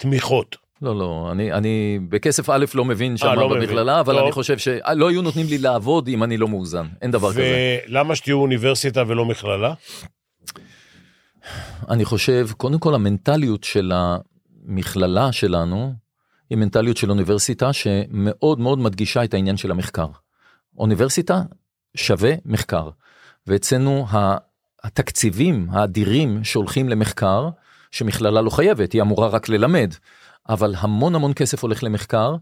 Speaker 3: לתמיכות?
Speaker 6: לא, לא, אני, אני בכסף א' לא מבין שם
Speaker 3: לא מבין.
Speaker 6: במכללה, אבל
Speaker 3: טוב.
Speaker 6: אני חושב שלא היו נותנים לי לעבוד אם אני לא מאוזן, אין דבר כזה.
Speaker 3: ולמה שתהיו אוניברסיטה ולא מכללה?
Speaker 6: אני חושב, קודם כל המנטליות של המכללה שלנו, היא מנטליות של אוניברסיטה שמאוד מאוד מדגישה את העניין של המחקר. אוניברסיטה שווה מחקר. ואצלנו ה- התקציבים האדירים שהולכים למחקר, שמכללה לא חייבת, היא אמורה רק ללמד, אבל המון המון כסף הולך למחקר,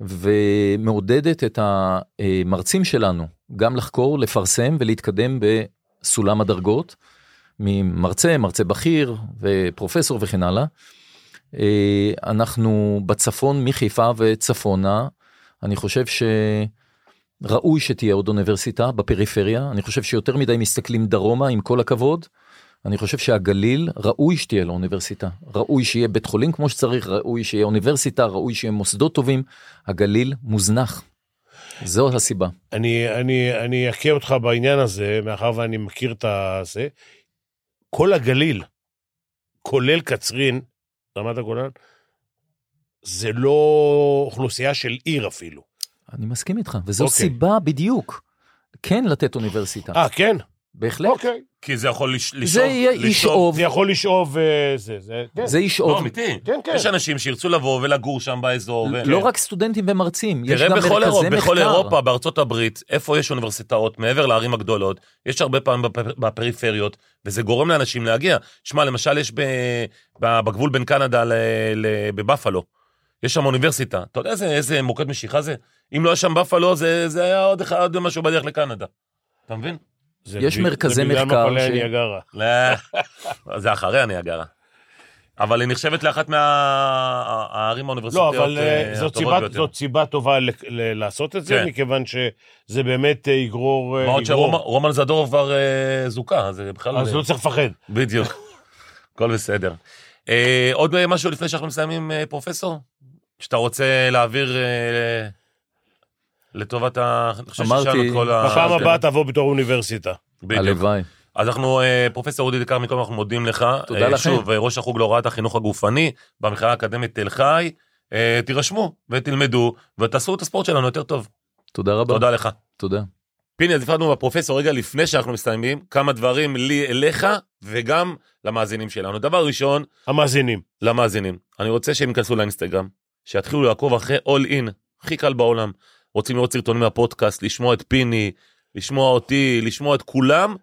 Speaker 6: ומעודדת את המרצים שלנו גם לחקור, לפרסם ולהתקדם בסולם הדרגות, ממרצה, מרצה בכיר ופרופסור וכן הלאה. אה, אנחנו בצפון מחיפה וצפונה, אני חושב שראוי שתהיה עוד אוניברסיטה בפריפריה, אני חושב שיותר מדי מסתכלים דרומה עם כל הכבוד. אני חושב שהגליל ראוי שתהיה לו אוניברסיטה, ראוי שיהיה בית חולים כמו שצריך, ראוי שיהיה אוניברסיטה, ראוי שיהיה מוסדות טובים, הגליל מוזנח. זו הסיבה.
Speaker 3: אני, אני, אני אכה אותך בעניין הזה, מאחר ואני מכיר את הזה. כל הגליל, כולל קצרין, רמת הגולן, זה לא אוכלוסייה של עיר אפילו.
Speaker 6: אני מסכים איתך, וזו
Speaker 3: אוקיי.
Speaker 6: סיבה בדיוק כן לתת אוניברסיטה,
Speaker 3: אה, כן?
Speaker 6: בהחלט.
Speaker 3: אוקיי.
Speaker 2: כי זה יכול לש- לשאוב.
Speaker 6: זה יהיה איש
Speaker 2: לשאוב.
Speaker 6: אוב,
Speaker 3: זה יכול לשאוב אה, זה, זה, כן.
Speaker 6: זה איש
Speaker 2: לא,
Speaker 6: אוב.
Speaker 2: אמיתי.
Speaker 3: כן, כן.
Speaker 2: יש אנשים שירצו לבוא ולגור שם באזור. ו- כן.
Speaker 6: לא רק סטודנטים ומרצים, יש
Speaker 2: תראה
Speaker 6: גם
Speaker 2: בכל
Speaker 6: מרכזי
Speaker 2: אירופה, בכל
Speaker 6: מחקר.
Speaker 2: אירופה, בארצות הברית, איפה יש אוניברסיטאות, מעבר לערים הגדולות, יש הרבה פעמים בפר- בפריפריות, וזה גורם לאנשים להגיע. שמע, למשל, יש ב- ב- בגבול בין קנדה ל- ל- בבפלו, יש שם אוניברסיטה. אתה יודע איזה- איזה מוקד משיכה זה? אם לא היה שם בפלו, זה זה היה עוד אחד, עוד משהו בדרך לקנדה. אתה מבין?
Speaker 3: זה
Speaker 6: יש מרכזי
Speaker 3: זה
Speaker 6: מחקר
Speaker 3: בגלל מפלי
Speaker 6: ש-
Speaker 3: הניאגרה.
Speaker 2: לא, זה אחרי הניאגרה. אבל היא נחשבת לאחת מהערים
Speaker 3: לא,
Speaker 2: האוניברסיטאיות
Speaker 3: אבל אה,
Speaker 2: אה,
Speaker 3: זאת
Speaker 2: הטובות
Speaker 3: סיבה-
Speaker 2: ביותר.
Speaker 3: זאת סיבה טובה ל- ל- לעשות את זה,
Speaker 2: כן.
Speaker 3: מכיוון שזה באמת אה, יגרור... אה,
Speaker 2: מה עוד אה,
Speaker 3: יגרור.
Speaker 2: שרומן זדורוב כבר אה, זוכה, אז זה בכלל...
Speaker 3: אז לא צריך לפחד.
Speaker 2: בדיוק. הכל בסדר. אה, עוד אה, משהו לפני שאנחנו מסיימים, אה, פרופסור? שאתה רוצה להעביר אה, לטובת ה... אני חושב
Speaker 6: אמרתי,
Speaker 2: ששאלנו את כל ה-
Speaker 3: בפעם
Speaker 2: כן,
Speaker 3: הבאה תבוא בתור אוניברסיטה.
Speaker 2: בדיוק.
Speaker 6: הלוואי.
Speaker 2: אז אנחנו, אה, פרופסור אודי דיקר, מכל אנחנו מודים לך.
Speaker 6: תודה
Speaker 2: אה,
Speaker 6: לכם.
Speaker 2: שוב, אה, ראש החוג להוראת החינוך הגופני במכללה האקדמית תל חי. אה, תירשמו ותלמדו ותעשו את הספורט שלנו יותר טוב.
Speaker 6: תודה רבה.
Speaker 2: תודה לך.
Speaker 6: תודה.
Speaker 2: פיני, אז נפרדנו מהפרופסור רגע לפני שאנחנו מסיימים, כמה דברים לי אליך וגם למאזינים שלנו. דבר ראשון,
Speaker 3: המאזינים.
Speaker 2: למאזינים, אני רוצה שהם ייכנסו לאינסטגרם, שיתחילו לעקוב אחרי All In, הכי קל בעולם. רוצים לראות סרטונים מהפודקאסט, לשמוע את פיני, לשמוע אותי, לשמוע את כולם,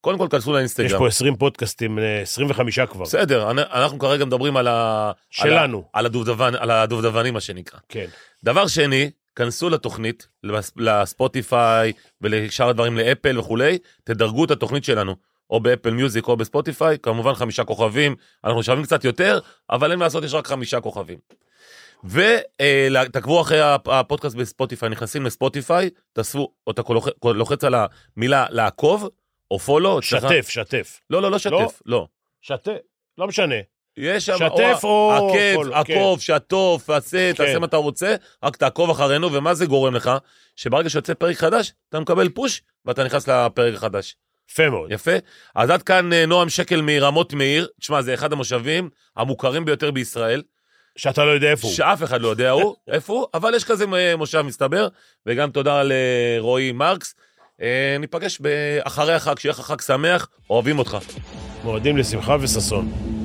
Speaker 2: קודם כל כנסו
Speaker 3: יש
Speaker 2: לאינסטגרם.
Speaker 3: פה 20 פודקאסטים, אה, 25 כבר.
Speaker 2: בסדר, אנ- אנחנו כרגע מדברים על ה...
Speaker 3: שלנו.
Speaker 2: על, ה... על, הדובדבן, על הדובדבנים, מה שנקרא.
Speaker 3: כן.
Speaker 2: דבר שני, כנסו לתוכנית, לס- לספוטיפיי ולשאר הדברים, לאפל וכולי, תדרגו את התוכנית שלנו, או באפל מיוזיק או בספוטיפיי, כמובן חמישה כוכבים, אנחנו שווים קצת יותר, אבל אין מה לעשות, יש רק חמישה כוכבים. ותעקבו אחרי הפ- הפודקאסט בספוטיפיי, נכנסים לספוטיפיי, תעשו, או אתה לוח- לוחץ על המילה לעקוב, או פולו,
Speaker 3: שתף, שתף.
Speaker 2: לא, לא, לא
Speaker 3: לא?
Speaker 2: שתף, לא.
Speaker 3: שתף. לא משנה.
Speaker 2: יש שם,
Speaker 3: שתף או
Speaker 2: עקב,
Speaker 3: follow,
Speaker 2: עקוב, שתוף, תעשה,
Speaker 3: כן.
Speaker 2: תעשה מה אתה רוצה, רק תעקוב אחרינו, ומה זה גורם לך? שברגע שיוצא פרק חדש, אתה מקבל פוש, ואתה נכנס לפרק החדש.
Speaker 3: יפה מאוד.
Speaker 2: יפה? אז עד כאן אה, נועם שקל מרמות מאיר, תשמע, זה אחד המושבים המוכרים ביותר בישראל,
Speaker 3: שאתה לא יודע איפה הוא.
Speaker 2: שאף אחד לא יודע הוא, איפה הוא, אבל יש כזה אה, מושב מסתבר, וגם תודה לרועי מרקס. אה, ניפגש ב- אחרי החג, שיהיה לך חג שמח, אוהבים אותך.
Speaker 3: מועדים לשמחה וששון.